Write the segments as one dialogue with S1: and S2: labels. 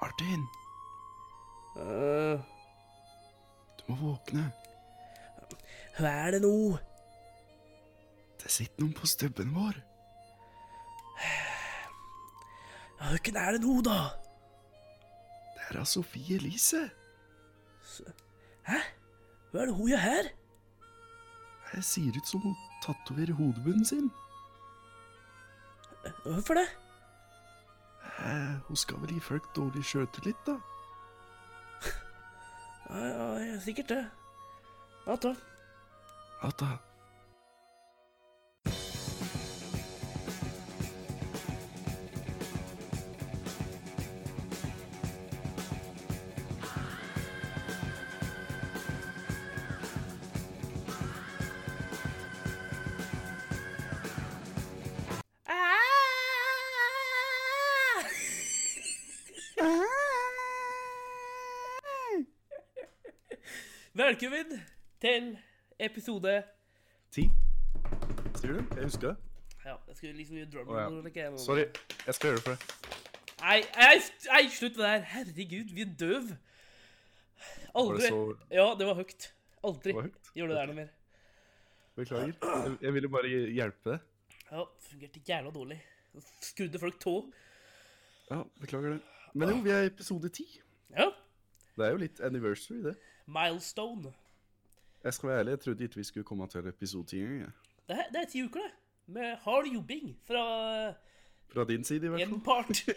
S1: Martin,
S2: Øh,
S1: du må våkne.
S2: hva er det nå?
S1: Det sitter noen på stubben vår.
S2: Ja, hvem er det nå, da?
S1: Det er av Sofie Elise.
S2: Hæ? Hva er det hun gjør her?
S1: Det ser ut som hun tatoverer hodebunnen sin.
S2: Hvorfor det?
S1: Eh, hun skal vel gi folk dårlig sjøltillit, da.
S2: Ja, ja, ja, sikkert det. Ja, da.
S1: Ja da.
S2: Ah! Velkommen til episode
S1: Ti. Sier du? Jeg husker det.
S2: Ja, jeg skulle liksom gjøre drum
S1: Å, ja.
S2: roll, eller ikke?
S1: Sorry. Jeg skal gjøre det for deg.
S2: Nei, nei, nei, slutt med det her. Herregud, vi er døv.
S1: Var
S2: Aldri.
S1: det så
S2: Ja, det var høyt. Aldri
S1: det var høyt?
S2: gjør det der noe mer.
S1: Beklager. Jeg, jeg ville bare hjelpe deg.
S2: Ja, fungerte jævla dårlig. Skrudde folk tå.
S1: Ja, beklager det. Men jo, vi er i episode ti.
S2: Ja,
S1: Det er jo litt anniversary, det.
S2: milestone.
S1: Jeg skal være ærlig, jeg trodde ikke vi skulle komme til episode ti engang. jeg.
S2: Det er, det er ti uker, det. Med hard jobbing fra
S1: Fra din side, i hvert
S2: en
S1: fall.
S2: part.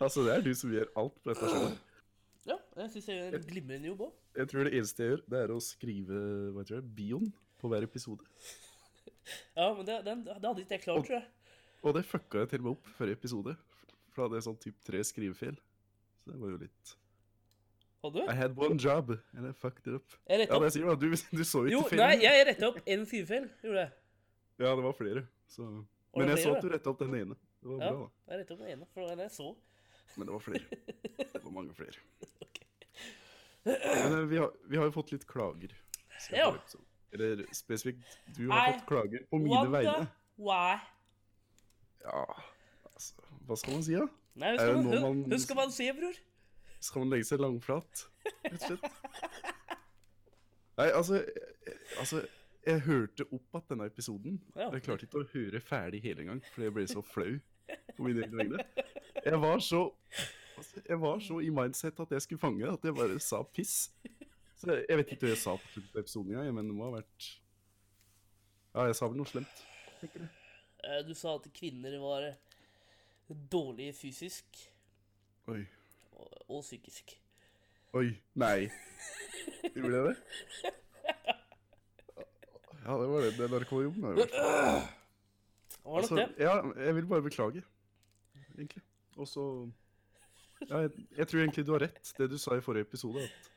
S1: Altså, det er du som gjør alt på dette skjønnet.
S2: Ja, jeg syns jeg gjør en glimrende jobb òg.
S1: Jeg tror det eneste jeg gjør, det er å skrive hva heter det, bioen på hver episode.
S2: Ja, men det, den, det hadde ikke jeg klart, tror jeg.
S1: Og det fucka jeg til og med opp forrige episode. For da hadde jeg sånn typ tre skrivefeil. Så det var jo litt
S2: Hadde
S1: I
S2: du?
S1: had one job, and I fucked it up.
S2: Jeg
S1: Ja,
S2: retta
S1: men
S2: opp.
S1: jeg sier jo, du, du så
S2: Jo,
S1: ikke
S2: nei,
S1: feilen.
S2: jeg retta opp en skrivefeil. Gjorde jeg.
S1: Ja, det var flere. Så.
S2: Var det
S1: Men jeg så
S2: flere?
S1: at du retta opp den ene. Det var
S2: Ja.
S1: bra, da.
S2: Jeg retta opp den ene, for det var den jeg så.
S1: Men det var flere. Det var mange flere. Men eh, vi har, vi har jo fått litt klager. siden
S2: Ja.
S1: forrige episode. liksom- Eller spesifikt, du har
S2: Nei.
S1: fått klager på mine vegne.
S2: Why?
S1: Ja, altså Hva skal man si, da?
S2: Nei,
S1: Er det
S2: husker
S1: noe
S2: man,
S1: man-
S2: husker man se, bror?
S1: Skal man legge seg langflat, rett og slett? Nei, altså jeg, Altså, jeg hørte opp at denne episoden.
S2: Ja.
S1: Jeg klarte ikke å høre ferdig hele engang, fordi jeg ble så flau på mine egne vegne. Jeg var så altså, Jeg var så i mindset at jeg skulle fange, at jeg bare sa piss. Så jeg, jeg vet ikke hva jeg sa på slutten av episoden engang, men det må ha vært Ja, jeg sa vel noe slemt.
S2: Eh, Du sa at kvinner var dårlige fysisk
S1: Oi.
S2: og, og psykisk.
S1: Oi. Nei. Gjorde jeg det? Ja, det var det. Det narkojonen har jo vært.
S2: Det var nok
S1: Altså,
S2: det.
S1: ja, jeg vil bare beklage, egentlig. Og så ja, jeg, jeg tror egentlig du har rett, det du sa i forrige episode. at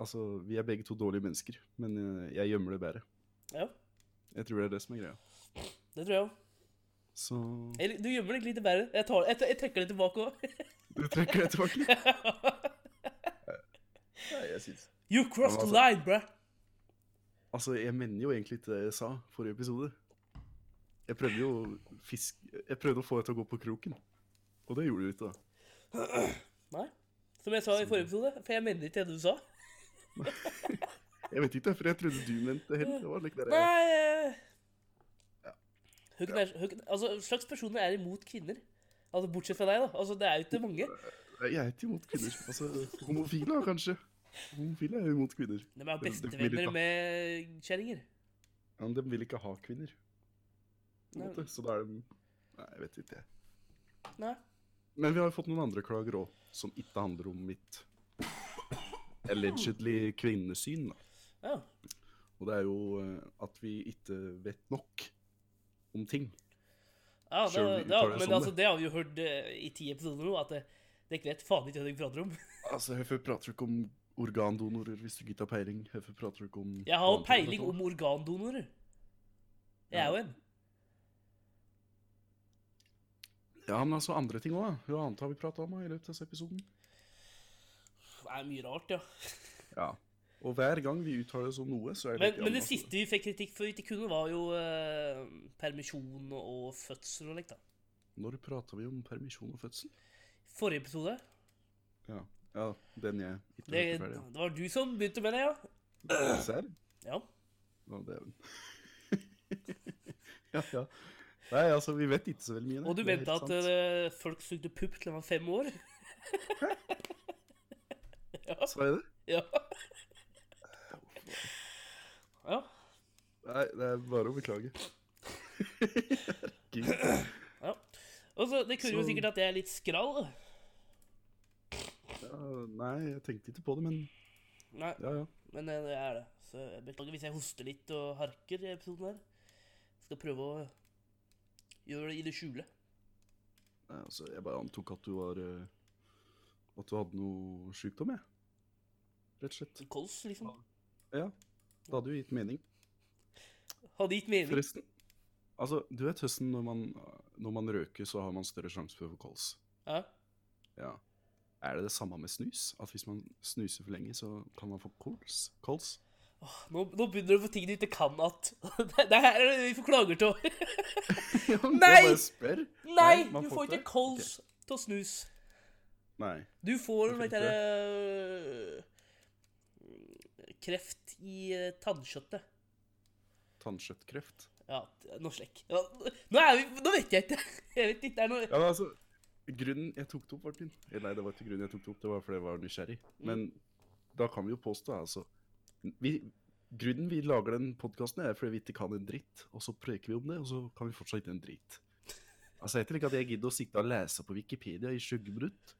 S1: Altså, vi er begge to dårlige mennesker, men eh, jeg gjemmer det bedre.
S2: Ja,
S1: Jeg tror det er det som er greia.
S2: det tror jeg òg.
S1: Så
S2: Eller, Du gjemmer deg litt bedre. Jeg, tar, jeg, jeg trekker det tilbake òg.
S1: du trekker det tilbake? Nei, jeg synes.
S2: You crossed the
S1: altså-
S2: line, bruh.
S1: Altså, jeg mener jo egentlig ikke det jeg sa forrige episode. Jeg prøvde jo å fisk... Jeg prøvde å få deg til å gå på kroken. Og det gjorde du ikke, da.
S2: Nei. Som jeg sa i forrige episode, for jeg mener ikke det du sa.
S1: Jeg vet ikke, for jeg trodde du mente det heller. Det var like der jeg...
S2: Nei eh, Høgn er, høgn, altså, slags personer er imot kvinner. Altså, Bortsett fra deg, da. Altså, Det er jo ikke mange.
S1: Nei, Jeg er ikke imot kvinner. Altså, homofile kanskje. Homofile er jo imot kvinner.
S2: De er
S1: det- det blir litt,
S2: bestevenner
S1: da.
S2: med kjerringer.
S1: Ja, Men de vil ikke ha kvinner. På en
S2: Nei.
S1: måte. Så da er de Nei, jeg vet ikke. jeg.
S2: Nei.
S1: Men vi har jo fått noen andre klager òg, som ikke handler om mitt allegedly kvinnesyn. da.
S2: Ja.
S1: Og det er jo eh, at vi ikke vet nok om ting.
S2: Ja, det,
S1: Selv om vi
S2: det,
S1: uttaler det
S2: men
S1: sånn,
S2: altså, det har vi jo hørt eh, i ti episoder nå, at det, det er ikke vet faen ikke hva dere prater om.
S1: Altså, Hvorfor prater du ikke om organdonorer hvis du ikke har peiling? Hvorfor prater du ikke om
S2: Jeg har jo peiling om organdonorer. Jeg er jo en.
S1: Ja, men altså andre ting òg. Hva annet har vi prata om i løpet av denne episoden?
S2: Det er mye rart, ja.
S1: Ja. Og hver gang vi uttaler oss om noe, så er det
S2: Men,
S1: ikke
S2: men det
S1: annet.
S2: siste vi fikk kritikk for vi ikke kunne, var jo eh, permisjon og fødsel og likt, da.
S1: Når prata vi om permisjon og fødsel?
S2: Forrige episode.
S1: Ja, ja den jeg ikke
S2: Det,
S1: hørte ferdig.
S2: det var du som begynte med det, ja?
S1: ja. Serr?
S2: Ja.
S1: Å, dæven. ja, ja. Nei, altså, vi vet ikke så veldig mye. nei.
S2: Og du
S1: Det er helt
S2: mente at
S1: sant.
S2: eh, folk sugde pupp til de var fem år? eh,
S1: Sa jeg det?
S2: Ja. ja.
S1: Nei, det er bare å beklage. Herregud.
S2: ja. Og så, det kunne jo
S1: Så-
S2: sikkert at jeg er litt skral. da.
S1: Ja, nei, jeg tenkte ikke på det, men
S2: Nei,
S1: ja, ja.
S2: men eh, jeg er det. Så jeg beklager hvis jeg hoster litt og harker i episoden her. Skal prøve å gjøre det i det skjule.
S1: Nei, altså, jeg bare antok at du var eh, At du hadde noe sykdom, jeg. Rett og slett.
S2: Kols, liksom.
S1: Ja. Det hadde jo gitt mening,
S2: Hadde gitt mening.
S1: forresten. Altså, du vet høsten når man, når man røker, så har man større sjanse for kols.
S2: Ja.
S1: Ja. Er det det samme med snus? At hvis man snuser for lenge, så kan man få kols? kols?
S2: Åh, Nå, nå begynner du på ting du ikke kan at Det det her er det vi får klager til.
S1: Ja, men
S2: Nei!
S1: Jeg bare spør.
S2: Nei,
S1: man
S2: du får
S1: det.
S2: ikke kols til å snus.
S1: Nei.
S2: Du får
S1: Hvorfor
S2: litt
S1: ikke?
S2: derre eh, Kreft i eh, tannkjøttet.
S1: Tannkjøttkreft.
S2: Ja, t- noe slik. Ja, nå er vi Nå vet jeg ikke. Jeg vet ikke, det er noe
S1: Ja, men altså, grunnen jeg tok det opp, Martin Eller nei, det var ikke grunnen jeg tok det opp, det var fordi jeg var nysgjerrig.
S2: Mm.
S1: Men da kan vi jo påstå, altså vi, Grunnen vi lager den podkasten, er fordi vi ikke kan en dritt. Og så preker vi om det, og så kan vi fortsatt ikke en dritt. Altså, Jeg tror ikke at jeg gidder å sitte og lese på Wikipedia i 20 minutter.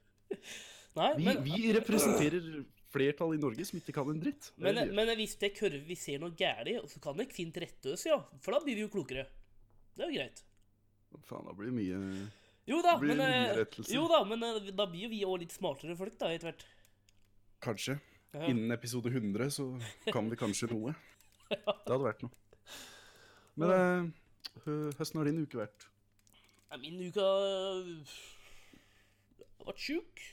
S2: Nei,
S1: Vi,
S2: men,
S1: vi representerer flertallet i Norge som ikke kan en dritt. Det er
S2: men,
S1: det vi gjør.
S2: men hvis det er kurve vi ser noe galt, så kan det fint rette oss, ja. For da blir vi jo klokere. Det er jo greit.
S1: Faen, da blir det mye
S2: Jo da,
S1: Det blir
S2: men,
S1: mye
S2: eh,
S1: rettelser.
S2: jo da, men eh, da blir jo vi òg litt smartere folk, da, etter hvert.
S1: Kanskje.
S2: Ja.
S1: Innen episode 100 så kan vi kanskje noe. Det hadde vært noe. Men eh, hø- høsten har din uke vært.
S2: Nei, Min uke har øh, vært sjuk.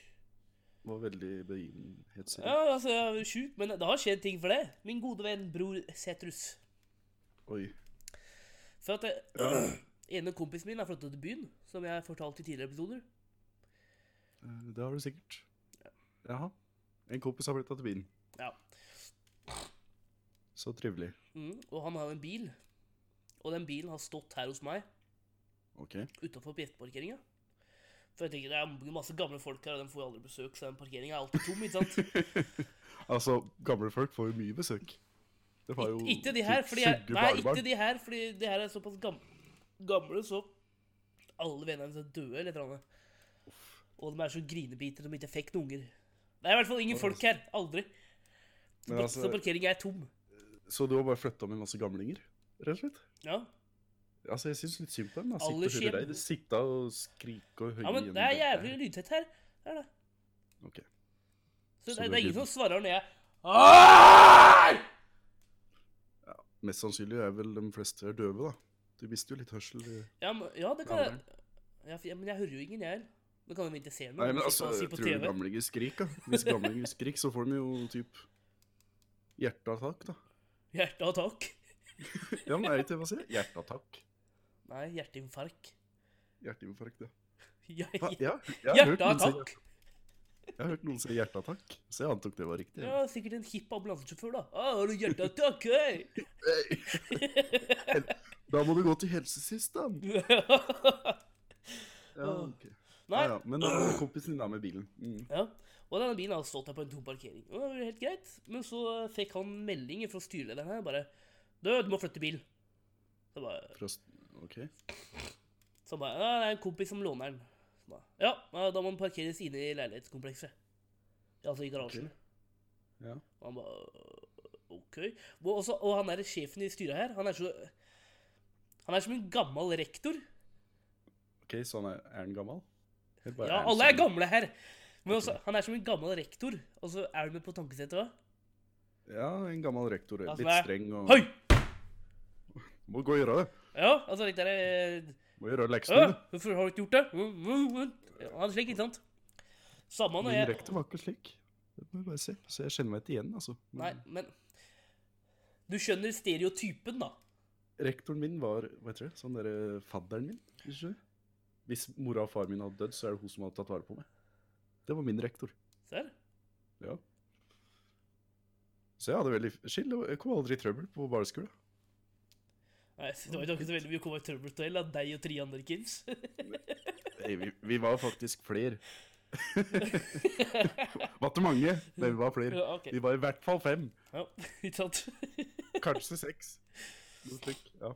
S1: Var veldig begivenhetsrik.
S2: Ja, altså, jeg har vært sjuk, men det har skjedd ting for det. Min gode venn bror Setrus.
S1: Oi.
S2: For at øh, det- ene kompisen min har flyttet til byen, som jeg fortalte i tidligere episoder.
S1: eh, Det har du sikkert. Jaha. En kompis har flytta til byen.
S2: Ja.
S1: Så trivelig.
S2: Mm, og han har jo en bil. Og den bilen har stått her hos meg,
S1: OK.
S2: utenfor Bjertparkeringen. For jeg tenker, det er masse gamle folk her, og de får jo aldri besøk, så den parkeringen er alltid tom, ikke sant?
S1: Altså, gamle folk får jo mye besøk. Det var jo
S2: Ik- Ikke de her,
S1: typ
S2: fordi jeg,
S1: 20
S2: nei,
S1: barnebarn.
S2: ikke de her, fordi de her er såpass gam, gamle, så alle vennene hennes er døde eller et eller annet. Og de er så grinebiter de ikke fikk noen unger. Det er i hvert fall ingen folk her. Aldri. Så,
S1: Men
S2: par-
S1: altså-
S2: så parkeringen er tom.
S1: Så du har bare flytta med en masse gamlinger, rett og slett?
S2: Ja.
S1: Altså, Jeg syns litt synd på dem. da.
S2: Alle
S1: Sitte og
S2: skjem-
S1: høre deg. Sitte og skrike og høye
S2: ja, men det er jævlig lydtett her. Det er det.
S1: Ok.
S2: Så
S1: Så
S2: det, er-
S1: det
S2: det
S1: er
S2: er ingen
S1: lyden.
S2: som svarer når jeg Aaaaaah!
S1: Mest sannsynlig er vel de fleste er døve, da. Du mister jo litt hørsel. eh.
S2: ja, men, ja, det kan
S1: Ja,
S2: jeg ja, for- ja, Men jeg hører jo ingen, jeg heller. Da kan de ikke se meg.
S1: Nei, men
S2: de
S1: altså,
S2: sitter og sier på
S1: tror du
S2: TV.
S1: gamlinger skriker? da? Hvis gamlinger skriker, så får de jo typ hjerteattakk, da.
S2: Hjerteattakk.
S1: Ja, men er det ikke det man sier? Hjerteattakk.
S2: Nei, hjerteinfarkt.
S1: Hjerteinfarkt, ja.
S2: Ja,
S1: Hva? Ja, jeg har hørt noen si-
S2: Hjerteattakk.
S1: Jeg har hørt noen si hjerteattakk, så jeg antok det var riktig.
S2: Ja, sikkert en hipp ambulansesjåfør, da. Å, har du hjerteattakk? hei?»
S1: Da må du gå til helsesysteren. Ja,
S2: Åh.
S1: ok.
S2: Nei.
S1: Ja, ja. Men eh, kompisen din er med bilen. Mm.
S2: Ja. Og denne bilen hadde stått der på en tom parkering. Og det var helt greit. Men så fikk han melding fra styrelederen her, bare Du, du må flytte bil. Så bare,
S1: Fra st- OK.
S2: så han bare Ja, det er en kompis som låner den. Så bare, ja, ja, da må den parkeres inne i leilighetskomplekset. Ja, Altså i garasjen.
S1: Ok. Ja.
S2: Og han bare OK. Og, også, og han der sjefen i styret her, han er så Han er som en gammel rektor.
S1: OK, så han er, er han gammel? Eller bare
S2: Ja,
S1: han
S2: alle er
S1: sånn-
S2: gamle her. Men også, han er som en gammel rektor, og så er du med på tankesettet òg.
S1: Ja, en gammel rektor. eh,
S2: Altså,
S1: Litt
S2: det er-
S1: streng og
S2: Hei!
S1: Må gå og gjøre det.
S2: Ja, altså litt der eh,
S1: Må gjøre leksene.
S2: «Å, Hvorfor har du ikke gjort det? Mm, mm, mm. Ja, Han er slik, ikke sant? Samme når
S1: Min
S2: jeg
S1: rektor var ikke slik. Det må jeg bare si. Så jeg kjenner meg ikke igjen, altså. Men
S2: Nei, men Du skjønner stereotypen, da.
S1: eh, rektoren min var, hva heter det, sånn derre fadderen min. Ikke? Hvis mora og far min hadde dødd, så er det hun som hadde tatt vare på meg. Det var min rektor.
S2: Ser?
S1: Ja. Så jeg hadde veldig chill. og Jeg kom aldri i trøbbel på barneskolen.
S2: Nei, det var jo ikke så veldig mye å komme i trøbbel til, da. Deg og tre andre kids.
S1: Nei, vi, vi var faktisk flere. Var ikke mange, men vi var flere.
S2: Ja, ok.
S1: Vi var i hvert fall fem.
S2: Ja, ikke sant?
S1: Kanskje seks. Noe slik, ja.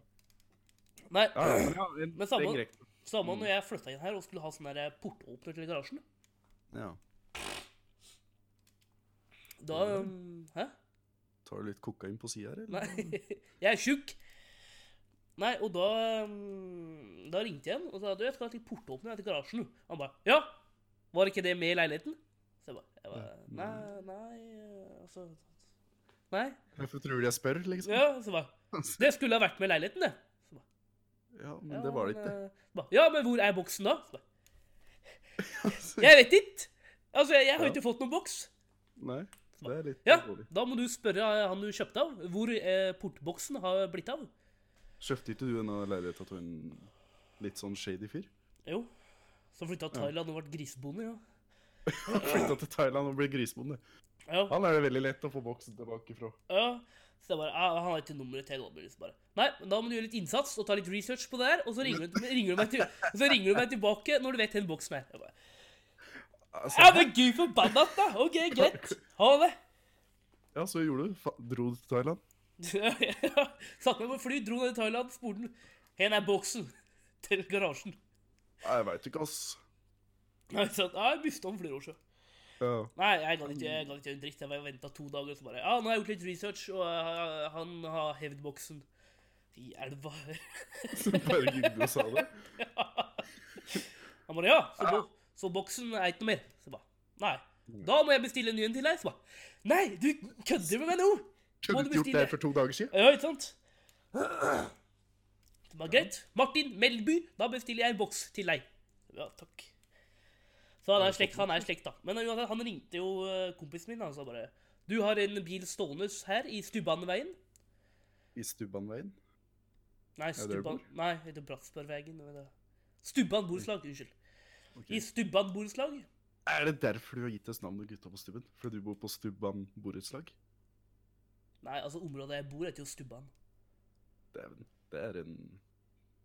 S2: Nei,
S1: Ja, ja, men ja, en
S2: Men
S1: streng
S2: samme-
S1: rektor.
S2: samme når jeg flytta inn her og skulle ha sånn der portåpner til garasjen.
S1: Ja.
S2: Da um, Hæ?
S1: Tar du litt kokain på sida her, eller?
S2: Nei, jeg er tjukk. Nei, og da um, Da ringte jeg han og sa du, jeg skal ha til portåpner her til garasjen. Han bare Ja! Var ikke det med i leiligheten? Så jeg bare jeg bare, Nei, nei Altså Nei.
S1: Hvorfor tror du jeg spør, liksom?
S2: Ja, så bare Det skulle ha vært med i leiligheten, det. Så bare,
S1: Ja, men det var det ikke.
S2: eh, så bare, Ja, men hvor er boksen da? Så bare, jeg vet ikke. Altså, jeg, jeg har
S1: Ja.
S2: ikke fått noen boks.
S1: Nei, det er litt
S2: Ja,
S1: dårlig.
S2: da må du spørre eh, han du kjøpte av, hvor eh, portboksen har blitt av.
S1: Kjøpte ikke du en leilighet av en litt sånn shady fyr?
S2: Jo. Som flytta til Thailand og ble grisebonde, ja.
S1: Flytta til Thailand og ble grisbonde.
S2: Ja,
S1: Han er det veldig lett å få boksen tilbake fra.
S2: ja. Så jeg bare, ah, Han har ikke nummeret til. da blir det liksom bare. Nei, men da må du gjøre litt innsats og ta litt research på det her, og så ringer du, ringer du, meg, til, og så ringer du meg tilbake når du vet hvor boksen er. Jeg bare, ja,
S1: Altså,
S2: men gud forbanna, da! OK, greit. Ha det.
S1: ja, så gjorde du. Fa- Dro du til Thailand?
S2: Satt meg på fly, dro ned til Thailand, spurte han Hvor er boksen? Til garasjen.
S1: Nei, jeg veit ikke, ass.
S2: Jeg sa, ah, jeg bytta om flere år siden.
S1: Ja.
S2: Nei, jeg gadd ikke, jeg gadd ikke en dritt. Jeg venta to dager, og så bare Ja, nå har jeg gjort litt research, og eh, han har hevd boksen. I elva.
S1: Så bare gikk du og sa det?
S2: Han bare Ja, så, bo så boksen er ikke noe mer. Så jeg bare Nei. Da må jeg bestille en ny en til deg. Så jeg bare Nei, du kødder med meg nå! Må
S1: Kunne
S2: du
S1: du ikke gjort det
S2: bestille?
S1: her for to dager siden?
S2: Ja, ikke sant? Det var greit. Martin Melby, da bestiller jeg en boks til deg. Ja, takk. Så han er slekt, han er slekt da. Men uansett, han ringte jo eh, kompisen min, han sa bare Du har en bil stående her i Stubbanveien.
S1: I Stubbanveien?
S2: Nei,
S1: Ja, der
S2: Stubban
S1: bor. Mm.
S2: Nei, det heter Bratsbergvegen. det var det. Stubban borettslag, unnskyld.
S1: Ok.
S2: I Stubban borettslag?
S1: Er det derfor du har gitt oss navnet Gutta på stubben? Fordi du bor på Stubban borettslag?
S2: Nei, altså området jeg bor, heter jo Stubban.
S1: Dæven. Det er en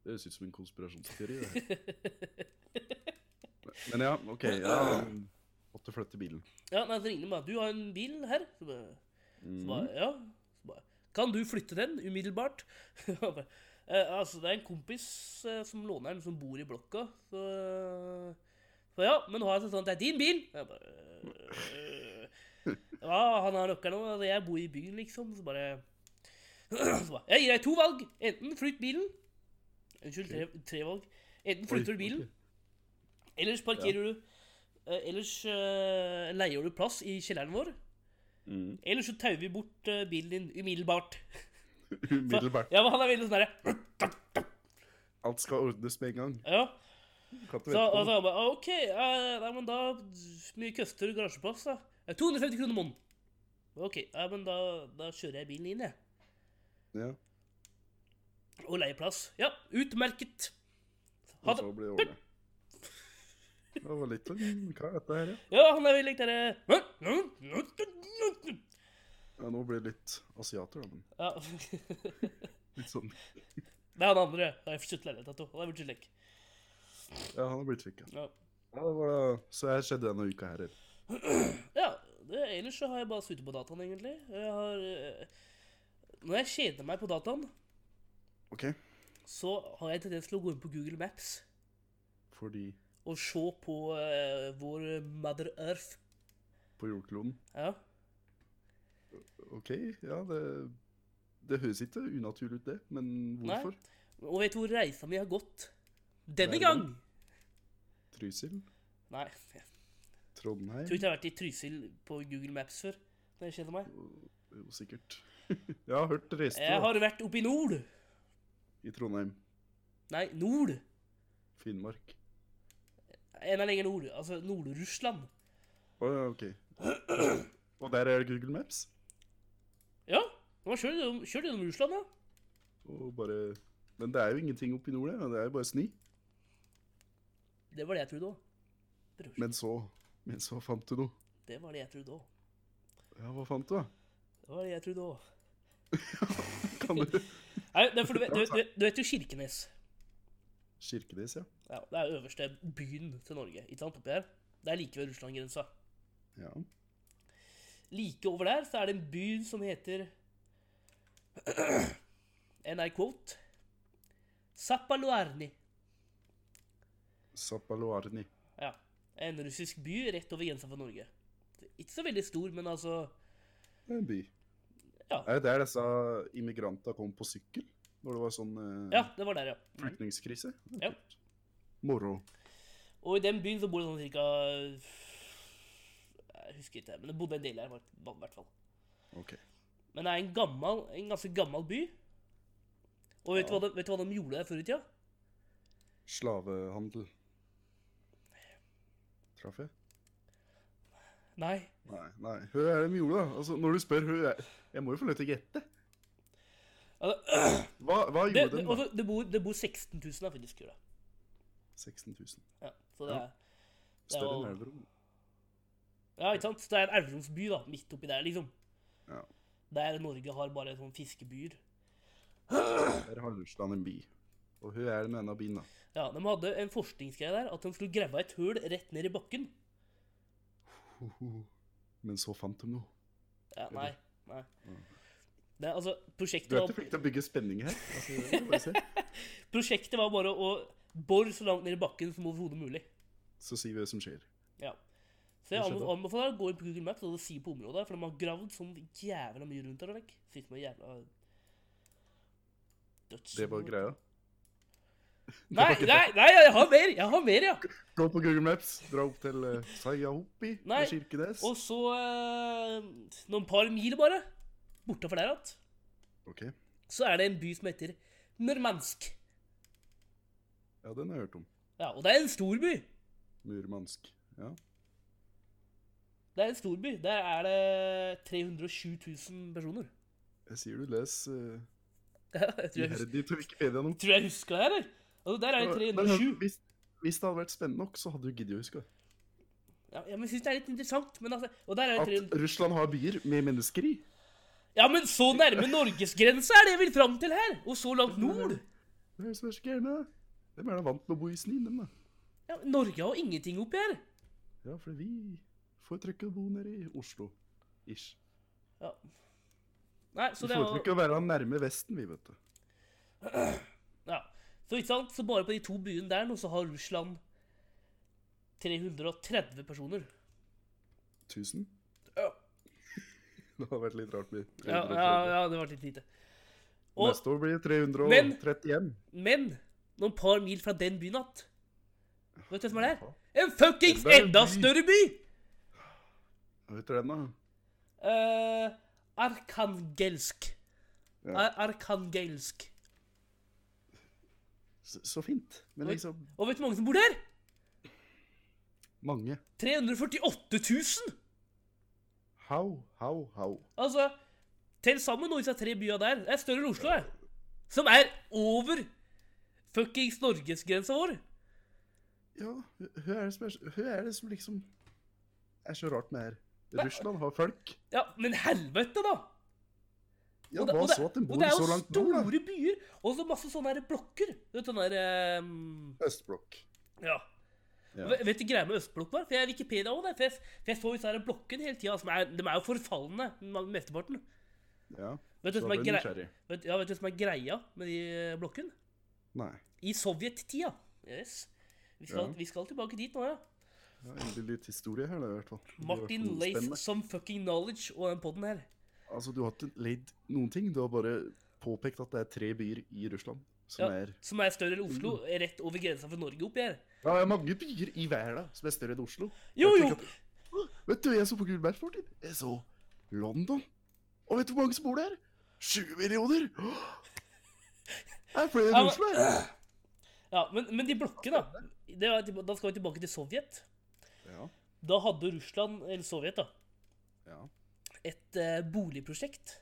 S1: Det høres ut som en konspirasjonsteori, det her. Men ja, OK. Ja. Måtte flytte bilen.
S2: Ja, nei, så ringte han bare Du har en bil her? Så bare, Så
S1: Mm.
S2: bare, ja. Så bare, kan du flytte den umiddelbart? Jeg bare, eh, altså, det er en kompis eh, som låner den, som bor i blokka. Så, eh, så ja, men nå har jeg sånn sånn, det er din bil! Jeg bare, eh, ja, han har nøkkelen nå, altså, jeg bor i byen, liksom. Så bare, så bare Jeg gir deg to valg. Enten flytt bilen Unnskyld, tre, tre valg. Enten flytter
S1: Mm. Oi,
S2: du bilen,
S1: ok.
S2: ellers parkerer du eh, Ellers eh, leier du plass i kjelleren vår.
S1: Mm.
S2: Ellers så tauer vi bort eh, bilen din umiddelbart. Så,
S1: Umiddelbart.
S2: ja, men han er veldig sånn derre
S1: Alt skal ordnes med en gang.
S2: Ja.
S1: Kan ikke
S2: Så,
S1: vente
S2: og
S1: på
S2: så
S1: det.
S2: han bare «Ah, OK, eh, nei, men da Hvor mye koster garasjeplass, da? Eh, 250 kroner måneden. OK, ja, men da, da kjører jeg bilen inn, jeg.
S1: Ja.
S2: Og leieplass. Ja, utmerket. Ha
S1: Og
S2: det.
S1: så blir det ordnet. Det var litt sånn Hva er dette her, ja?
S2: Ja, han er veldig lik derre
S1: ja? Nå blir det litt asiater, da. Men
S2: Ja.
S1: litt sånn
S2: Det er han andre. Jeg har fått leilighet av to. Han er blitt slik.
S1: Ja, han har blitt trykka.
S2: Ja.
S1: Ja, det var da Så her skjedde denne uka her. eller?
S2: Ja, det, ellers så har jeg bare suttet på dataen, egentlig. Jeg har eh, Når jeg kjeder meg på dataen,
S1: OK.
S2: så har jeg tendens til å gå inn på Google Maps
S1: Fordi
S2: og se på eh, vår Mother Earth.
S1: på jordkloden
S2: Ja.
S1: OK, ja, det Det høres ikke unaturlig ut, det. Men hvorfor?
S2: Og vet du hvor reisa mi har gått? Denne
S1: Hver
S2: gang!
S1: gang? Trysil?
S2: Nei, jeg
S1: Trondheim?
S2: tror ikke jeg har vært i Trysil på Google Maps før. Når jeg kjenner meg.
S1: Jo, sikkert. Jeg har hørt reiste
S2: Jeg
S1: da,
S2: har vært oppe i nord.
S1: i Trondheim.
S2: Nei, nord.
S1: Finnmark.
S2: Enda lenger nord. Altså Nord-Russland.
S1: Å ja, OK. Og der er det Google Maps?
S2: Ja, nå kjører du gjennom- kjører du gjennom Russland, da.
S1: Og bare Men det er jo ingenting oppi nord der. Det er jo bare snø.
S2: Det var det jeg trodde òg. Bror.
S1: Men så Men så fant du noe.
S2: Det var det jeg trodde òg.
S1: Ja, hva fant du, da?
S2: Det var det jeg trodde òg.
S1: Kan du
S2: Nei, det er for du, vet- du, du, du vet jo Kirkenes.
S1: Kirkenes, ja.
S2: Ja, det er øverste byen til Norge. ikke sant, oppi her? Det er like ved Russland-grensa.
S1: ja.
S2: Like over der så er det en by som heter And I quote Sapaluarni.
S1: Zapaloarni.
S2: Ja. En russisk by rett over grensa for Norge. Ikke så veldig stor, men altså
S1: Det er en by.
S2: Ja.
S1: Er det der disse immigrantene kom på sykkel? Når det var sånn eh,
S2: Ja, det var der, ja.
S1: flyktningskrise?
S2: Ja.
S1: Moro.
S2: Og i den byen så bor det sånn cirka Jeg husker ikke, men det bodde en del her, i hvert fall.
S1: OK.
S2: Men det er en gammel, en ganske gammel by. Og vet, du
S1: Ja.
S2: hva de, vet du hva de gjorde der før i tida?
S1: Slavehandel. Traff jeg?
S2: Nei.
S1: Nei. nei. Hva er det de gjorde, da? Altså, når du spør hva er- Jeg må jo få lov til å gjette.
S2: Altså,
S1: Hva, hva
S2: det,
S1: gjorde
S2: det,
S1: de, da?
S2: altså, det, bor, det bor 16 000 her, faktisk. gjør det.
S1: 16 000.
S2: Ja, så det
S1: Ja.
S2: er, Det er
S1: Større enn
S2: jo-
S1: Elverum.
S2: ja, ikke sant? Så det er en elverumsby da, midt oppi der, liksom.
S1: Ja.
S2: Der Norge har bare sånne fiskebyer.
S1: Der har Russland en by. Og hva er det med denne byen, da?
S2: Ja, De hadde en forskningsgreie der at de skulle grave et høl rett ned i bakken.
S1: Ho, ho. Men så fant de noe.
S2: Ja, nei, nei.
S1: Mm.
S2: Det, er altså,
S1: Du
S2: prosjektet,
S1: vet du
S2: var,
S1: fikk til å bygge spenning her? Altså, det må jeg bare si.
S2: prosjektet var bare å bore så langt ned i bakken som overhodet mulig.
S1: Så sier vi hva som skjer.
S2: Ja. Så jeg
S1: Det skjedde.
S2: anbe- anbefaler deg å gå inn på Google Maps og si på området, for de har gravd sånn jævla mye rundt der og vekk. Sitter med jævla døds...
S1: Det var greia.
S2: Nei, nei, nei, jeg har mer! Jeg har mer, ja!
S1: Gå på Google Maps, dra opp til uh, Sayahopi
S2: Nei,
S1: og Kirkenes.
S2: Og så eh, noen par mil bare, bortafor der igjen,
S1: Ok,
S2: så er det en by som heter Murmansk.
S1: ja, den har jeg hørt om.
S2: Ja, og det er en stor by.
S1: Murmansk. Ja,
S2: Det er en stor by. Der er det 307 000 personer.
S1: jeg sier du les uh,
S2: Ja, jeg tror jeg, husker,
S1: iherdig til Wikipedia nå.
S2: tror jeg husker det, eller? Altså, der er det
S1: Men,
S2: 307.
S1: hvis, hvis det hadde vært spennende nok, så hadde du giddet å huske det.
S2: Ja, ja, men jeg synes det er litt interessant. Men altså, og der er det 300...
S1: At Russland har byer med mennesker i.
S2: Ja, men så nærme norgesgrensa er det jeg vil fram til her! Og så langt nord!
S1: Det er det som er så gærent. da. Hvem er da vant med å bo i snø, dem, da?
S2: Ja, men Norge har ingenting oppi her.
S1: Ja, for vi foretrekker å bo nede i Oslo. Ish.
S2: Ja. Nei, så
S1: Vi
S2: det er jo
S1: foretrekker å være nærme Vesten, vi, vet du.
S2: ja. Så ikke sant, så bare på de to byene der nå, så har Russland 330 personer.
S1: 1000?
S2: Ja,
S1: Det hadde vært litt rart. med
S2: ja,
S1: 330.
S2: ja, det var litt lite. Og,
S1: Neste år blir det 331.
S2: Men- men noen par mil fra den byen att Vet du hva som er der? En fuckings
S1: Det er en
S2: enda
S1: by.
S2: større by!
S1: Hva heter den, da?
S2: Eh, Arkangelsk.
S1: Ja.
S2: Ar Arkangelsk.
S1: Så, så fint. Men
S2: Oi.
S1: liksom
S2: Og vet du hvor mange som bor der?
S1: Mange.
S2: 348 000!
S1: How, how, how?
S2: Altså, til sammen nå i disse tre byene der. Det er større enn Oslo, det. Som er over fuckings norgesgrensa vår.
S1: Ja, hva- hva er det som, er, hva er det som liksom er så rart med her? Russland har folk.
S2: Ja, men helvete, da!
S1: Ja,
S2: Og det-
S1: hva
S2: og det-
S1: så at de
S2: og
S1: bor
S2: det er jo
S1: så langt nord, da?
S2: store byer, og så masse sånne her blokker. Du vet sånne her ehm,
S1: Østblokk.
S2: Ja.
S1: Ja.
S2: Ve- Vet du greia med østblokk var? For jeg er Wikipedia òg, for, jeg- for jeg så disse her blokkene hele tida. De er jo forfalne, ma- mesteparten.
S1: Ja.
S2: Vet du
S1: Så ble
S2: hva som er
S1: du
S2: grei-
S1: nysgjerrig.
S2: vet- ja, vet du hva som er greia med de blokkene?
S1: Nei.
S2: I sovjettida. Yes. Vi skal,
S1: Ja.
S2: vi skal tilbake dit nå, ja.
S1: Ja, endelig litt historie her, da, i hvert fall. Det har vært
S2: Martin
S1: noe
S2: Leif
S1: spennende.
S2: some fucking knowledge og den podden her.
S1: Altså, du har ikke leid noen ting. Du har bare påpekt at det er tre byer i Russland som
S2: Ja,
S1: er
S2: som er større enn Oslo, er rett over grensa for Norge oppi her.
S1: Mm. Ja, det er mange byer i verden som er større enn Oslo.
S2: Jo,
S1: Jeg
S2: jo!
S1: tenker at- Åh, Vet du, jeg så på Google Maps fortid. Jeg så London. Og vet du hvor mange som bor der? 20 millioner! Åh! Det er flere enn
S2: Ja, men-
S1: Oslo, her.
S2: Ja, men, men de blokkene, da. Det var, tilba- da skal vi tilbake til Sovjet.
S1: Ja,
S2: Da hadde Russland, eller Sovjet, da,
S1: ja.
S2: et eh, boligprosjekt.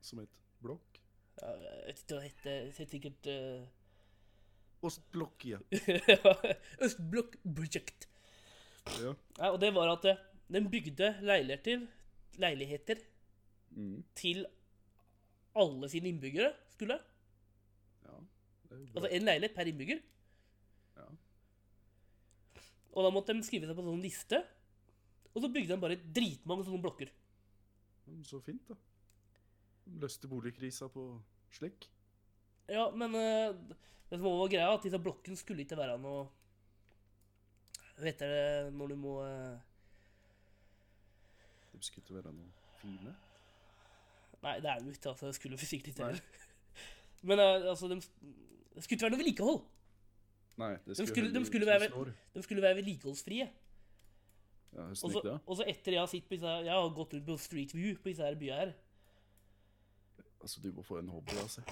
S1: Som et blokk.
S2: Ja, jeg vet ikke hva det heter, det heter sikkert eh,
S1: Ostblokkia.
S2: Østblokk Project.
S1: Ja.
S2: Ja, og det var at eh, den bygde leiligheter, leiligheter
S1: Mm.
S2: til alle sine innbyggere, skulle.
S1: ja. Det er jo bra.
S2: Altså en leilighet per innbygger.
S1: Ja.
S2: Og da måtte de skrive seg på en sånn liste. Og så bygde de bare dritmange sånne blokker.
S1: Mm, Så fint, da. Løste boligkrisa på slik.
S2: Ja, men eh, det som var greia, at disse blokkene skulle ikke være noe Hva heter det når du må eh,
S1: De skulle ikke være noe fine.
S2: Nei, det er jo ikke altså, det. Skulle sikkert ikke
S1: Nei.
S2: heller. Men eh, altså, de, det skulle ikke være noe vedlikehold.
S1: Nei, det
S2: De
S1: skulle,
S2: skulle- de
S1: heller
S2: skulle
S1: tusen
S2: være-
S1: år.
S2: De skulle være vedlikeholdsfrie.
S1: Ja,
S2: Og
S1: Hvordan
S2: så
S1: gikk det?
S2: og så etter jeg har, sittet på disse, jeg har gått rundt på Street View på disse her byene her
S1: Altså, du må få en hobby, altså.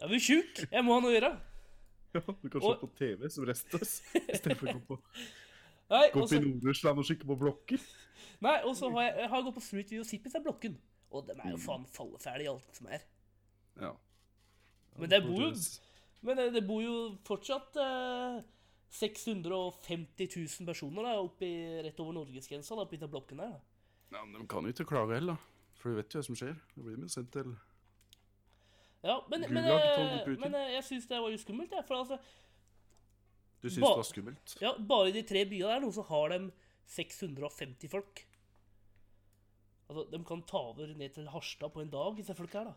S2: Jeg blir sjuk! Jeg må ha noe å gjøre.
S1: Ja, du kan
S2: Og-
S1: se på TV som restes, istedenfor å gå på,
S2: Nei, altså,
S1: gå
S2: og
S1: opp i
S2: så-
S1: Nord-Russland og kikke på blokker.
S2: nei, og så har jeg, jeg har gått på Street View og sittet på disse blokken. Og de er jo
S1: Mm.
S2: faen falleferdige, alt som er.
S1: Ja.
S2: Men det bor jo-
S1: Fortøys.
S2: Men eh, det bor jo fortsatt eh, 650 000 personer da, oppi, rett over norgesgrensa da, oppi den blokken der. Da.
S1: Ja, men de kan jo ikke klage heller, da. For du vet jo hva som skjer. Da blir de jo sendt til
S2: Ja, men, men,
S1: Gulag,
S2: eh,
S1: Tonje Putin.
S2: men eh, jeg syns det var jo skummelt. jeg, for altså,
S1: Du syns
S2: Ba-
S1: det var skummelt?
S2: ja, bare i de tre byene der nå så har de 650 folk. Altså, De kan ta over ned til Harstad på en dag, disse folka her. da.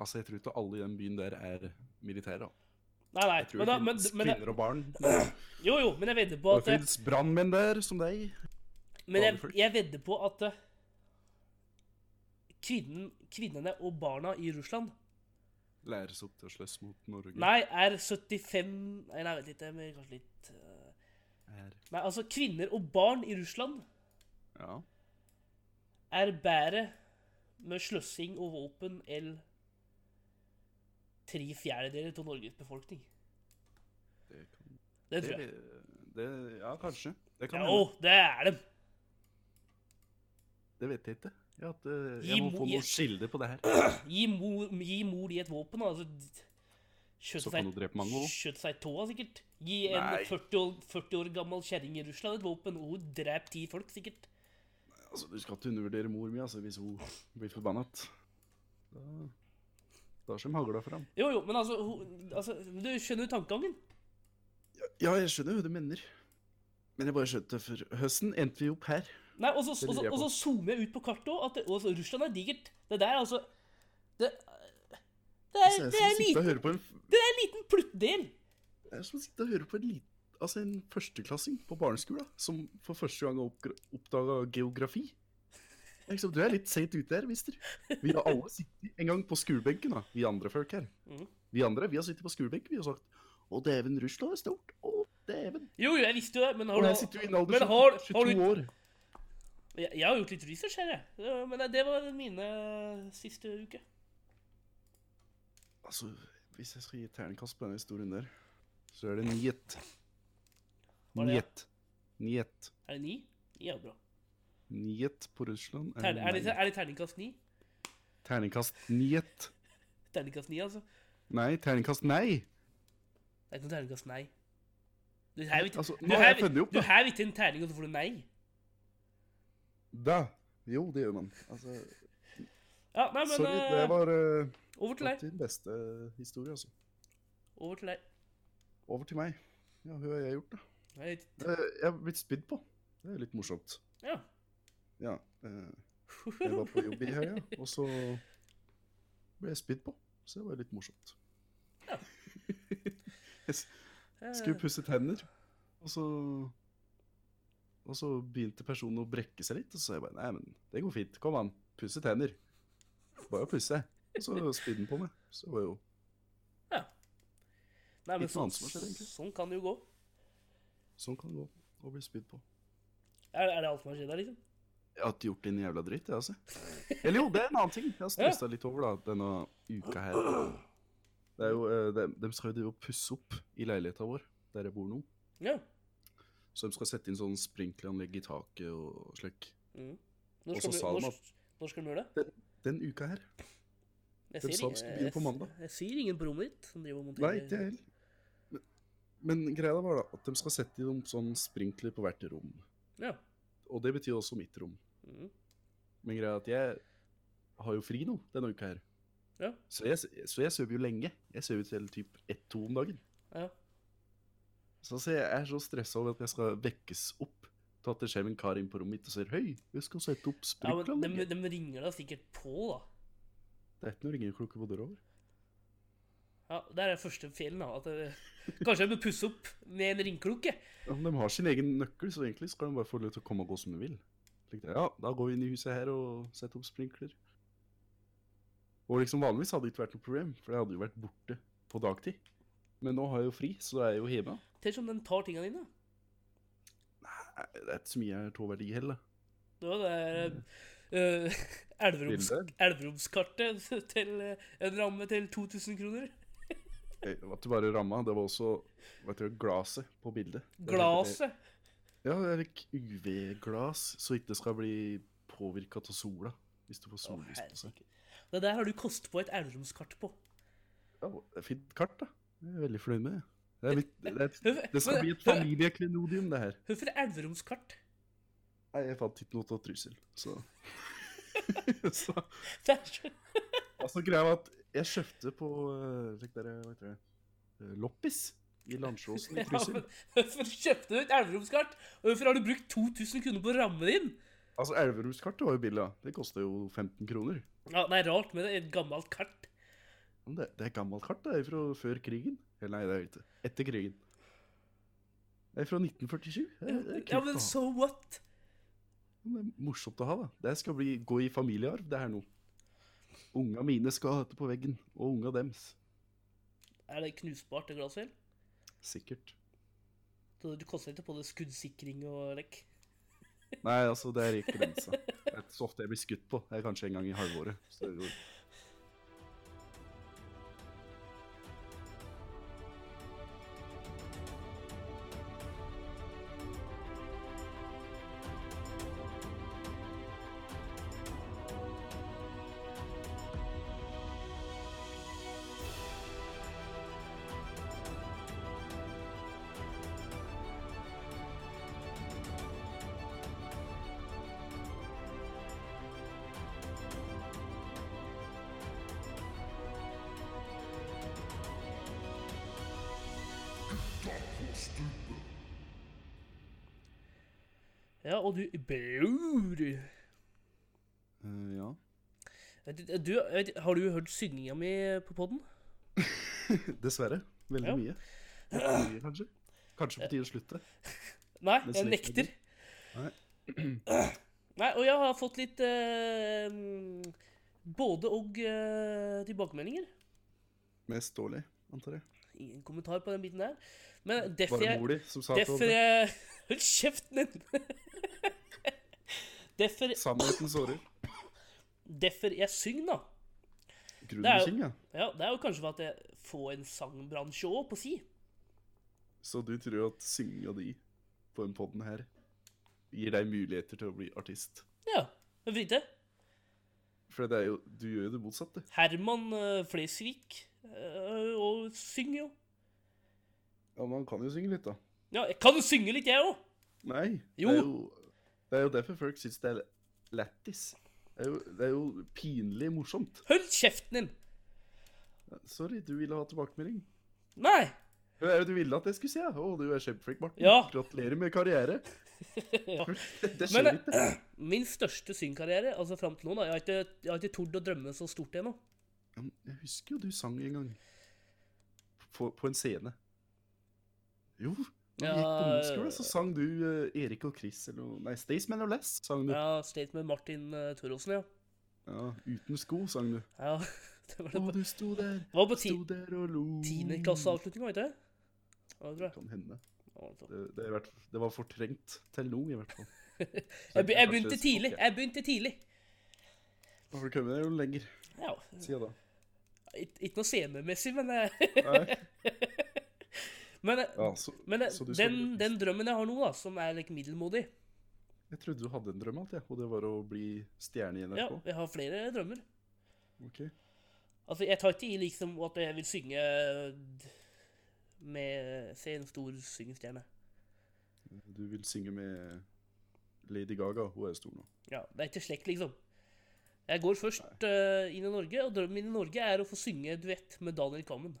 S1: Altså, jeg tror ikke alle i den byen der er militære, da.
S2: Nei, nei.
S1: Jeg tror
S2: Men, da,
S1: det
S2: men,
S1: finnes
S2: men,
S1: kvinner og barn.
S2: jo, jo, men jeg vedder på
S1: Og
S2: at eh,
S1: det finnes brannmenn der, som deg.
S2: Men jeg,
S1: Vanlig.
S2: jeg vedder på at eh, kvinnen, kvinnene og barna i Russland
S1: Mm. Læres opp til å slåss mot Norge.
S2: Nei, er 75 Nei, nei, vent litt, jeg må kanskje litt eh,
S1: Er-
S2: Nei, altså, kvinner og barn i Russland
S1: Ja.
S2: er bedre med sløssing og våpen enn tre fjerdedeler av Norges befolkning.
S1: Det kan
S2: Det
S1: det,
S2: tror jeg.
S1: det, Ja, kanskje. Det kan
S2: Ja,
S1: hende.
S2: å, det er dem!
S1: Det vet jeg ikke. Jeg, at, eh,
S2: Gi
S1: jeg må
S2: mo-
S1: få
S2: gi-
S1: noe skilde på det her.
S2: Gi mor, gi mor de et våpen, da, altså. d- Skjøt
S1: Så
S2: seg-
S1: kan du drepe mange også.
S2: Skjøt seg i tåa, sikkert. Gi en
S1: Nei.
S2: 40 år, 40 år gammel kjerring i Russland et våpen, og hun dreper ti folk, sikkert.
S1: Altså, du skal ikke undervurdere mor mi altså, hvis hun blir forbannet. Da, da kommer hagla fram.
S2: Jo, jo, men altså, hun, altså Du skjønner jo tankegangen?
S1: Ja, jeg skjønner hva du mener. Men jeg bare skjønte for høsten endte vi opp her.
S2: Nei, og så
S1: Det
S2: og
S1: lurer
S2: så-
S1: jeg
S2: og
S1: på.
S2: så zoomer jeg ut på kartet òg, at det, og så Russland er digert. Det der, altså Det, det,
S1: Altså, jeg
S2: er, det,
S1: skal
S2: er, en
S1: sitte og
S2: liten,
S1: høre på en,
S2: det er en liten pluttdel.
S1: det er som å sitte og høre på en, lit- altså, en førsteklassing på barneskolen som for første gang har oppdaga geografi. Det er Liksom, du er litt seint ute her, mister. Vi har alle sittet en gang på skolebenken, da, vi andre folk her.
S2: Mhm.
S1: Vi andre vi har sittet på skolebenken vi har sagt 'Å, dæven, Russland er stort'. Å, dæven.
S2: Jo, jo, jeg visste jo det, men har
S1: Og
S2: du
S1: jeg sitter jo i en alder
S2: Men
S1: av
S2: har, har
S1: 22
S2: du
S1: år.
S2: jeg, jeg har gjort litt research her, jeg. Ja, Men det var mine siste uke.
S1: Altså, hvis jeg skal gi et terningkast på denne historien der, så er det njet.
S2: Hva er det?
S1: Njet. Njet.
S2: Er det ni? Ni er bra.
S1: Njet på Russland
S2: Ter,
S1: er,
S2: er, det,
S1: nei.
S2: er det terningkast ni?
S1: Terningkast njet.
S2: Terningkast ni, altså.
S1: Nei, terningkast nei.
S2: Det er ikke noe terningkast nei. Du har ikke
S1: Altså,
S2: du
S1: nå har
S2: har
S1: jeg funnet opp,
S2: du
S1: da.
S2: har ikke en terning, og så får du nei.
S1: Da. Jo, det gjør man. Altså,
S2: Ja, nei, men
S1: sorry, det
S2: eh,
S1: var eh,
S2: over til deg.
S1: alltid den beste historie, altså.
S2: Over til deg.
S1: Over til meg. Ja, hva har jeg gjort, da?
S2: Jeg vet ikke.
S1: Eh, Jeg har blitt spydd på. Det er jo litt morsomt.
S2: Ja.
S1: Ja. eh, Jeg var på jobb i helga, og så ble jeg spydd på. Så det var jo litt morsomt.
S2: Ja.
S1: Jeg s-
S2: Eh,
S1: skulle pusse tenner, og så Og så begynte personen å brekke seg litt, og så sa jeg bare Nei, men det går fint. Kom an, pusse tenner. Bare å pusse. Og så spydde den på meg. Så det var jo
S2: Nei, men
S1: Litt noe
S2: sånn,
S1: annet som har skjedd, egentlig.
S2: sånn kan det jo gå.
S1: Sånn kan det gå å bli spydd på.
S2: Er, er det alt som har skjedd her, liksom?
S1: Jeg har ikke gjort din jævla dritt, jeg, altså. Eller jo, det er en annen ting. Jeg har stressa litt over da, denne uka her. Det er jo, eh, de, de skal jo drive og pusse opp i leiligheta vår, der jeg bor nå.
S2: Ja.
S1: Så de skal sette inn sånn sprinkleranlegg i taket og slik.
S2: Mm.
S1: Og
S2: Når,
S1: så
S2: skal du,
S1: sa de
S2: når,
S1: at-
S2: når skal du gjøre det?
S1: Den uka her. De
S2: Jeg ser
S1: sa de
S2: ingen-
S1: skulle begynne på
S2: jeg-
S1: mandag.
S2: Jeg ser ingen på rommet ditt som driver og
S1: Nei, ikke jeg
S2: monterer
S1: heller. Men Men greia var da at de skal sette i dem sånn sprinkler på hvert rom.
S2: Ja.
S1: Og det betyr også mitt rom.
S2: Mm.
S1: Men greia er at jeg har jo fri nå denne uka her.
S2: Ja.
S1: Så jeg, så jeg sover jo lenge. Jeg sover til typ 1-2 om dagen.
S2: ja.
S1: Så altså, jeg er så stressa over at jeg skal vekkes opp til at det skjer en kar inn på rommet mitt og sier Høy, vi skal sette opp
S2: ja men de,
S1: sprinkleranlegget.
S2: de ringer deg sikkert på, da.
S1: Det er ikke noe ringeklokke på døra over.
S2: Ja, Det er den første feilen. da, at det, Kanskje jeg bør pusse opp med en ringklokke?
S1: Ja, men de har sin egen nøkkel, så egentlig skal de bare få lov til å komme og gå som de vil. Tenkte jeg, Ja, da går vi inn i huset her og setter opp sprinkler. Og liksom vanligvis hadde det ikke vært noe problem, for jeg hadde jo vært borte på dagtid. Men nå har jeg jo fri, så da er jeg jo hjemme.
S2: Tenk om den tar tinga dine.
S1: Nei, Det er ikke så mye jeg har tåverdi heller.
S2: Det var det der, eh, elveroms,
S1: Bilder?
S2: elveromskartet til eh, en ramme til 2000 kroner.
S1: Eh, Det var ikke bare ramma, det var også vet du, glaset på bildet. Det er-
S2: Glaset.
S1: Ja, det er like UV-glas, så ikke det skal bli påvirka av sola. Hvis du får
S2: Å,
S1: sollys på seg.
S2: herregud. Det der har du kost på et elveromskart på.
S1: Ja, det er fint kart, da. Jeg er veldig fornøyd med det. Det, er mitt, det, er,
S2: Hvorfor-
S1: det skal
S2: hvorfor-
S1: bli et familieklenodium, det her.
S2: Hvorfor elveromskart?
S1: Nei, jeg fant ikke noe av trussel, så. så
S2: Det er så
S1: Altså, greia var at jeg kjøpte på eh, slik der, hva heter det, eh, Loppis i Landsjåsen i
S2: Ja,
S1: Trysil.
S2: men Hvorfor kjøpte du et elveromskart? Og hvorfor har du brukt 2000 kroner på rammen din?
S1: Altså, Elverumskartet var jo billig, da. Det kosta jo 15 kroner.
S2: Ja, Det er rart med det, et gammelt kart.
S1: Men det, det er gammelt kart, det er fra før krigen. Eller nei, det er ikke. Etter krigen. Det er fra 1947. Det er, det er,
S2: Ja,
S1: kult
S2: men
S1: å ha.
S2: so what?
S1: Men det er morsomt å ha, da. Det skal bli, gå i familiearv, det her nå. Unga mine skal ha dette på veggen, og unga dems.
S2: Er det knusbart, det glasset? eller?
S1: Sikkert.
S2: Så Du koster ikke på det skuddsikring og lekk?
S1: Nei, altså, det er ikke grensa. Det er så ofte jeg blir skutt på. Det er kanskje en gang i halvåret. Så det går.
S2: Ja, og du Bror!
S1: Eh, ja.
S2: Du, vet- har du hørt synginga mi på poden?
S1: Dessverre. Veldig
S2: Ja.
S1: mye. Litt for mye, kanskje. Kanskje på tide å slutte.
S2: Nei,
S1: Men
S2: jeg
S1: slik er
S2: nekter.
S1: det. Nei.
S2: Nei, og jeg har fått litt eh, mm, både og eh, tilbakemeldinger.
S1: Mest dårlig, antar jeg.
S2: Ingen kommentar på den biten der. Men derfor
S1: Bare
S2: jeg
S1: mor di som sa til
S2: Derfor
S1: henne.
S2: jeg Hold kjeften din! derfor,
S1: Sannheten sårer.
S2: derfor jeg synger, da. Det
S1: Grunnen
S2: er jo-
S1: til ting, ja.
S2: Ja, Det er jo kanskje for at jeg får en sangbransje òg, på si.
S1: Så du tror at synginga di på den podden her gir deg muligheter til å bli artist?
S2: Ja, hvorfor ikke?
S1: For det er jo, du gjør jo det motsatte.
S2: Herman eh, Flesvig eh, og synger jo.
S1: Ja, men han kan jo synge litt, da.
S2: Ja, jeg kan jo synge litt, jeg òg.
S1: Nei.
S2: Jo.
S1: Det er jo, det er jo derfor folk syns det er lættis. Det, er jo- det er jo pinlig morsomt.
S2: Hold kjeften din!
S1: Sorry, du ville ha tilbakemelding.
S2: Nei!
S1: Hva er det du ville at jeg skulle si? ja? Å, du er kjempeflink, Martin.
S2: Ja.
S1: Gratulerer med karriere.
S2: Ja.
S1: Det skjer
S2: Men eh,
S1: ikke.
S2: min største syngkarriere, altså fram til nå, da Jeg har ikke, jeg har ikke tord å drømme så stort ennå.
S1: Ja, men Jeg husker jo du sang en gang. På, på en scene. Jo. Når vi gikk på
S2: Ja, øh,
S1: ungdomsskolen, så sang du eh, Erik og Chris eller noe Nei, Staysman og Less sang du. Ja.
S2: Ja, State med Martin uh, Torrosen, ja.
S1: Uten sko sang du.
S2: ja. Det var,
S1: Å,
S2: det.
S1: du sto der,
S2: Det var på ti
S1: sto der og lo.
S2: tiendeklasseavslutninga, vet du? Ja, det tror jeg.
S1: Kan hende.
S2: Ja, det tror jeg.
S1: Det, det, er i hvert fall- det var fortrengt til nå, i hvert fall.
S2: Jeg, be- jeg
S1: Kanskje
S2: begynte
S1: språket.
S2: tidlig. Jeg begynte tidlig.
S1: Da får du komme deg jo lenger
S2: Ja,
S1: siden da.
S2: ikke ikke noe scenemessig, men, eh,
S1: Nei,
S2: men, eh,
S1: Ja, så,
S2: men eh,
S1: så du skal
S2: den,
S1: bli-
S2: den drømmen jeg har nå, da, som er like, middelmådig
S1: jeg trodde du hadde en drøm, alt, jeg, og det var å bli stjerne i
S2: Ja,
S1: NRK.
S2: jeg har flere drømmer.
S1: Ok.
S2: Altså, jeg tar ikke i liksom at jeg vil synge med Se en stor syngestjerne.
S1: Du vil synge med Lady Gaga, hun er stor nå.
S2: Ja, det er ikke slekt, liksom. Jeg går først eh, inn i Norge, og drømmen min i Norge er å få synge duett med Daniel Kvammen.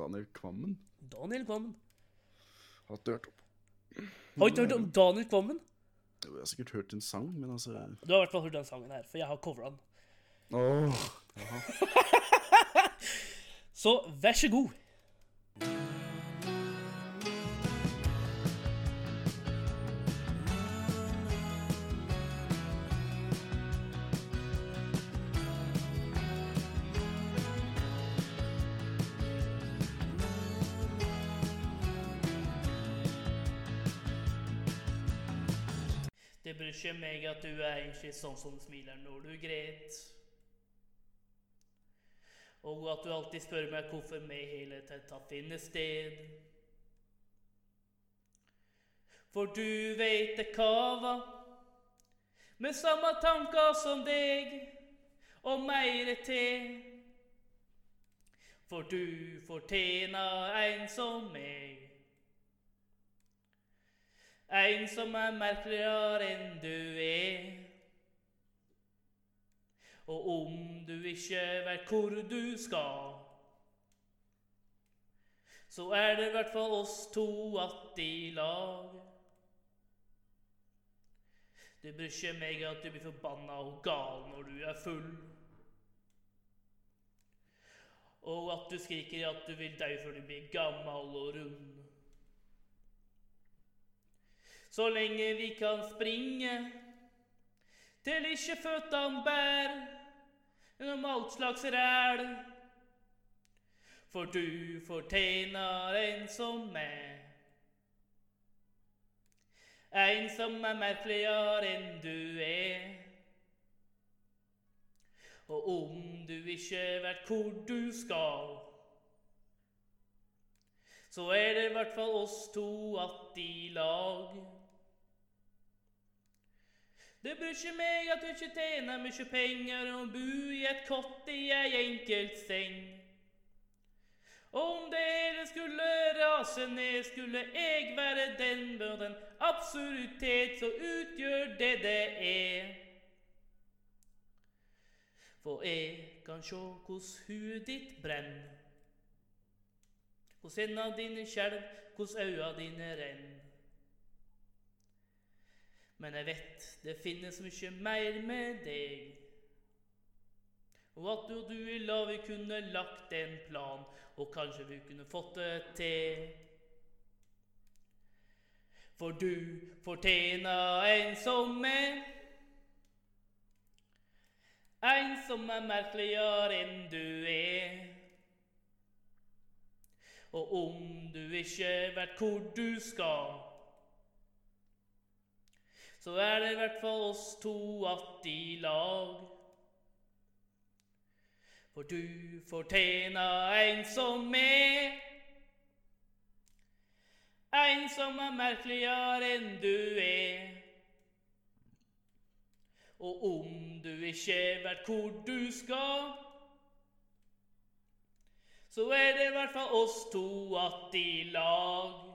S1: Daniel Kvammen
S2: Daniel Kvammen.
S1: har dørt opp.
S2: Har du ikke hørt om Daniel Kvammen?
S1: Jeg har sikkert hørt en sang, men altså
S2: Du har i hvert fall hørt den sangen her, for jeg har covra den.
S1: Åh,
S2: Så vær så god. Det bryr ikke meg at du er enslig sånn som smiler når du gret. Og at du alltid spør meg hvorfor vi i hele tatt finner sted. For du veit det kava med samme tanker som deg, og meire til. For du fortjener en som meg. En som er merkeligere enn du er. Og om du ikke vet hvor du skal, så er det i hvert fall oss to att i lag. Det bryr ikke meg at du blir forbanna og gal når du er full. Og at du skriker at du vil dø før du blir gammel og rund. Så lenge vi kan springe til ikke føttene bær gjennom alt slags ræl. For du fortjener en som meg. En som er merkeligere enn du er. Og om du ikke vet hvor du skal, så er det i hvert fall oss to att i lag. Det bryr ikke meg at du ikke tjener mye penger og bor i et kott i ei enkelt seng. Og om det hele skulle rase ned, skulle jeg være den med den absurditet som utgjør det det er. For jeg kan sjå hvordan huet ditt brenner. Hos hendene dine skjelv, hos øya dine renn. Men jeg vet det finnes mye mer med deg. Og at du og du i lag vi kunne lagt en plan, og kanskje vi kunne fått det til. For du fortjener en som meg. En som er merkeligere enn du er. Og om du ikke vet hvor du skal, så er det i hvert fall oss to att i lag. For du fortjener en som meg. En som er merkeligere enn du er. Og om du ikke vet hvor du skal, så er det i hvert fall oss to att i lag.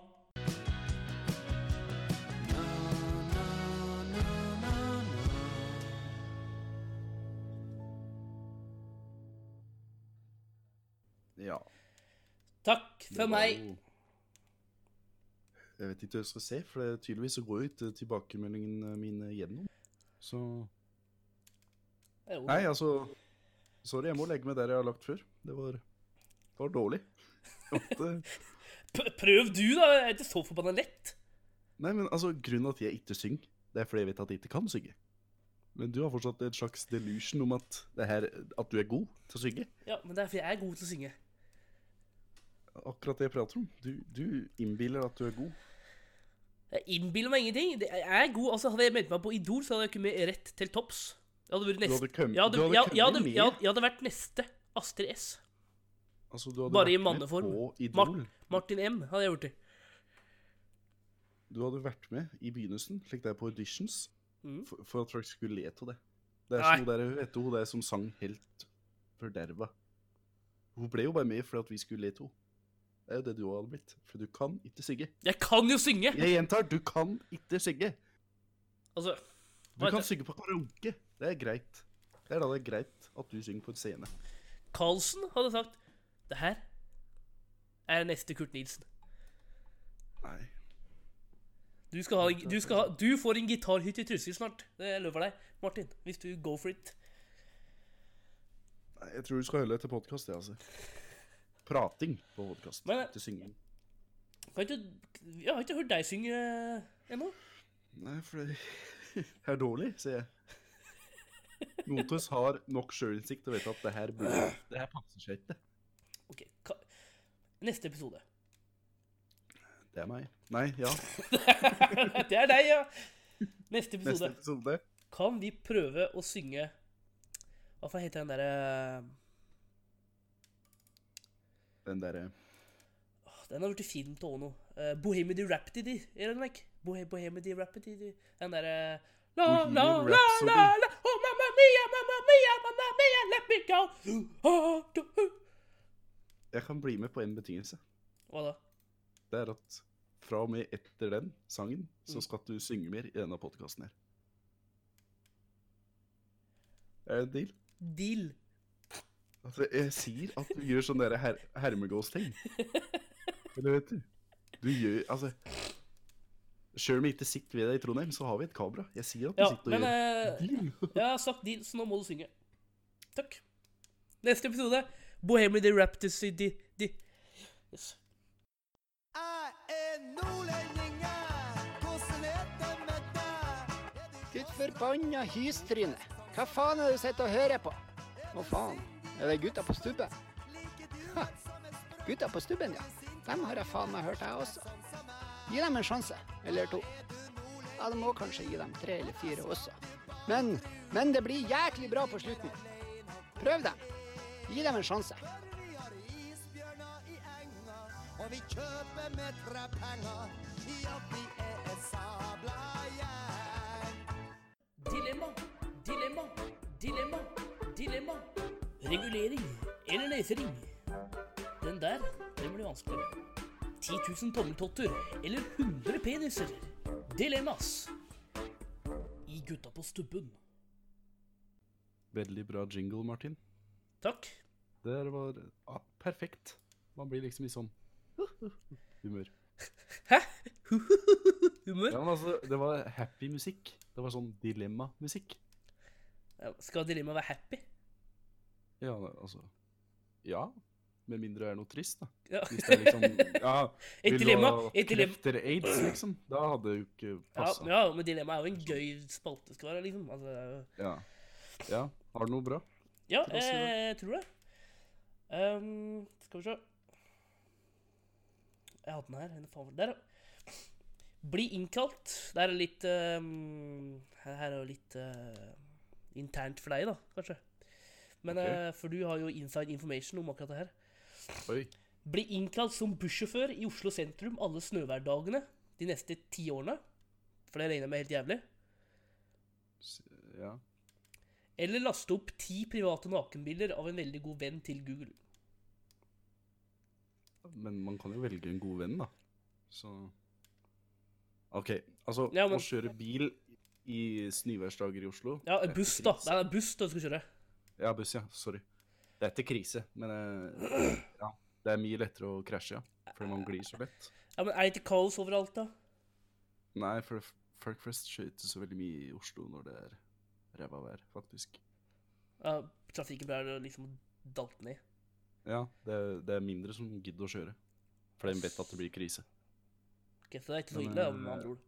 S1: ja.
S2: Takk
S1: Det var
S2: for meg.
S1: jo- Jeg vet ikke hva jeg skal se, for det, tydeligvis så går jo ikke tilbakemeldingene mine gjennom. Så
S2: Jo,
S1: Nei, altså Sorry, jeg må legge meg der jeg har lagt før. Det var, det var dårlig. eh, Jeg måtte-
S2: p- Prøv du, da. Jeg er ikke så forbanna lett.
S1: Nei, men altså, grunnen til at jeg ikke synger, det er fordi jeg vet at jeg ikke kan synge. Men du har fortsatt et slags delusion om at, det her, at du er god til å synge.
S2: Ja, men det er fordi jeg er god til å synge.
S1: Akkurat det jeg prater om. Du, du innbiller at du er god.
S2: Jeg innbiller meg ingenting. Det- Jeg er god. Altså, Hadde jeg meldt meg på Idol, så hadde jeg kommet rett til topps. Jeg hadde vært
S1: Du
S2: neste.
S1: hadde kommet-
S2: jeg, hadde,
S1: du hadde
S2: jeg, jeg,
S1: kommet
S2: hadde,
S1: med.
S2: jeg, hadde, jeg hadde vært neste Astrid S.
S1: Altså, du hadde
S2: Bare i
S1: vært med
S2: manneform.
S1: På
S2: Mar
S1: Idol.
S2: Martin M hadde jeg gjort det.
S1: Du hadde vært med i begynnelsen, slik det er på auditions,
S2: Mhm.
S1: for, for at folk skulle le av det. Det er
S2: Nei.
S1: som hun der, vet du, hun der som sang helt forderva. Hun ble jo bare med fordi at vi skulle le av henne. Det er jo det du hadde blitt. For du kan ikke sigge.
S2: Jeg kan jo synge!
S1: Jeg gjentar, du kan ikke sigge.
S2: Altså
S1: Du
S2: Hva
S1: kan
S2: heter-
S1: synge på karaoke. Det er greit. Det er da det er greit at du synger på en scene.
S2: Carlsen hadde sagt Det her er neste Kurt Nilsen.
S1: Nei.
S2: Du, skal ha, du, skal ha, du får en gitarhytte i Trysil snart. Det lover deg, Martin. Hvis du go for it.
S1: Nei, Jeg tror du skal holde etter podkast, jeg, altså. Prating på podkast,
S2: Men-
S1: ikke synging.
S2: Kan ikke, jeg har ikke hørt deg synge eh, ennå.
S1: Nei, for det det er dårlig, sier jeg. Noen av oss har nok sjølinnsikt til å vite at det her burde Det her passer seg ikke.
S2: Ok, ka, Neste episode.
S1: Det er meg. Nei, ja.
S2: det er deg, ja! Neste
S1: Neste
S2: episode.
S1: episode.
S2: Kan vi prøve å synge Hva faen heter den eh, derre
S1: Den derre
S2: Den har blitt film til Ono. Uh, Bohemian Rhapsody, er den vekk? Bohe Bohemian Rhapsody. Den derre La, la,
S1: Bohemian
S2: la, la,
S1: Rhapsody.
S2: la, oh mamma mia, mamma mia, mamma mia, let me go. Ah, du, uh.
S1: Jeg kan bli med på en betingelse.
S2: Hva da?
S1: Det er at fra og med etter den sangen, så skal du synge mer i denne podkasten her. Er det en deal?
S2: Deal.
S1: Altså, jeg sier at du gjør sånne der her hermegåsting. Eller vet du? Du gjør Altså Sjøl om jeg ikke sitter ved deg i Trondheim, så har vi et kamera. Jeg sier at du
S2: Ja,
S1: sitter
S2: men
S1: og
S2: eh,
S1: gjør
S2: jeg har sagt deal, så nå må du synge. Takk. Neste episode Bohemian Rhapsody. di- Yes.
S3: Jeg er nordlending, jeg. Hvordan er det med deg? Er du
S4: Ditt forbanna hystryne. Hva faen er det du sitter og hører på? Å faen, er det gutta på stubben?
S3: like du,
S4: Ha.
S3: men som en sprø
S4: Gutta på stubben, ja. Dem har jeg faen meg hørt, jeg også. Gi dem en sjanse, eller to. Ja, du må kanskje gi dem tre eller fire også. Men, men det blir jæklig bra på slutten. Prøv dem. Gi dem en sjanse.
S3: Vi har isbjørner i enga, og vi kjøper med trepenger. Ja, vi er en sabla gjeng.
S2: Dilemma, dilemma, dilemma, dilemma. Regulering eller løsering. Den der, den blir vanskeligere. 10 000 tommeltotter eller 100 peniser. Dilemmas. I gutta på stubben.
S1: Veldig bra jingle, Martin.
S2: Takk.
S1: Det der var ja, perfekt. Man blir liksom i sånn humør.
S2: Hæ? Humør?
S1: Ja, men altså, det var happy musikk. Det var sånn dilemma-musikk.
S2: Ja, Skal dilemma være happy?
S1: Ja, altså Ja. Med mindre det er noe trist, da.
S2: Ja.
S1: Hvis det er liksom Ja,
S2: Et
S1: vil du
S2: dilemma,
S1: ha
S2: et dilemma.
S1: kreft eller aids, liksom? Da hadde det jo ikke
S2: Ja,
S1: passa.
S2: ja, men dilemma er jo en gøy spalte det skal være, liksom. Altså, det er jo-
S1: Ja. ja. Har du noe bra?
S2: Ja,
S1: Til oss i dag.
S2: eh, jeg tror det. Ehm, skal vi se Jeg hadde den her. Den er faen vel- Der, ja. Bli innkalt. Det er litt ehm, Her her er jo litt eh, internt for deg, da, kanskje. Men
S1: Ok.
S2: eh, For du har jo inside information om akkurat det her.
S1: Oi.
S2: Bli innkalt som bussjåfør i Oslo sentrum alle snøværdagene de neste ti årene. For det regner jeg med er helt jævlig.
S1: S- Ja.
S2: Eller laste opp ti private nakenbilder av en veldig god venn til Google.
S1: Men man kan jo velge en god venn, da. Så OK. Altså,
S2: Ja, men-
S1: å kjøre bil i snøværsdager i Oslo
S2: Ja,
S1: det er
S2: buss,
S1: ikke
S2: da.
S1: krise.
S2: Nei, det er buss da du skal kjøre.
S1: Ja, buss, ja. Sorry. Det er ikke krise, men eh, ja, det er mye lettere å krasje, ja. Fordi man glir så lett.
S2: Ja, men Er det ikke kaos overalt, da?
S1: Nei, for f- folk flest kjører ikke så veldig mye i Oslo når det er ræva vær, faktisk.
S2: Ja, trafikken blir liksom dalt ned.
S1: Ja, det er, det er mindre som gidder å kjøre. For de vet at det blir krise.
S2: Ok, så det er ikke så
S1: Men,
S2: ille, da,
S1: eh,
S2: med andre ord.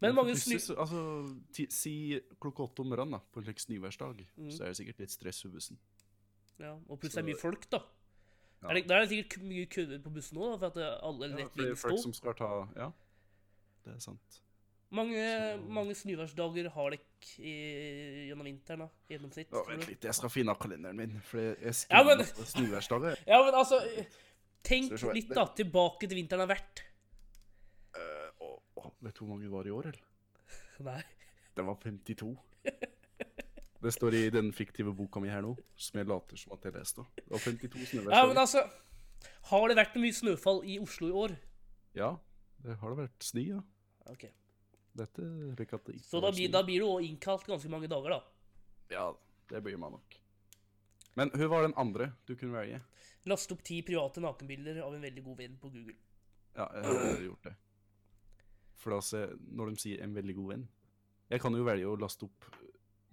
S2: Men mange
S1: for
S2: snu...
S1: busser, så- Altså, ti, si klokka åtte om morgenen, da, på en slags nyværsdag,
S2: Mm.
S1: så er det sikkert litt stress for bussen.
S2: Ja, og plutselig er det mye
S1: så-
S2: folk, da.
S1: Ja.
S2: Er det, da er det sikkert k- mye køer på bussen nå, da, for at eh, alle
S1: Ja,
S2: lett
S1: for det
S2: vil
S1: er
S2: stå.
S1: folk som skal ta Ja, det er sant.
S2: Mange,
S1: så-
S2: mange snøværsdager har dere i- gjennom vinteren, da, i gjennomsnitt.
S1: Å,
S2: tror
S1: vent
S2: du?
S1: litt, jeg skal finne av kalenderen min, for jeg
S2: Ja,
S1: skriver
S2: men-
S1: ja, men... snøværsdager.
S2: Ja, men altså eh,
S1: Skal vi
S2: Tenk
S1: se,
S2: litt,
S1: det-
S2: da, tilbake til vinteren har vært.
S1: Å, å, vet du hvor mange det var i år, eller?
S2: Nei.
S1: Det var 52. Det står i den fiktive boka mi her nå, som jeg later som at jeg leste. Det var 52
S2: Ja, men
S1: snøværsdager.
S2: altså Har det vært noe mye snøfall i Oslo i år?
S1: Ja, det har det vært snø, ja.
S2: Ok.
S1: Dette rekker at det ikke
S2: Så da,
S1: var
S2: blir-
S1: snø.
S2: da blir du også innkalt ganske mange dager, da.
S1: Ja, det blir man nok. Men hun var den andre du kunne velge.
S2: Last opp ti private nakenbilder av en veldig god venn på Google.
S1: Ja, jeg har gjort det. For da se, når de sier 'en veldig god venn' Jeg kan jo velge å laste opp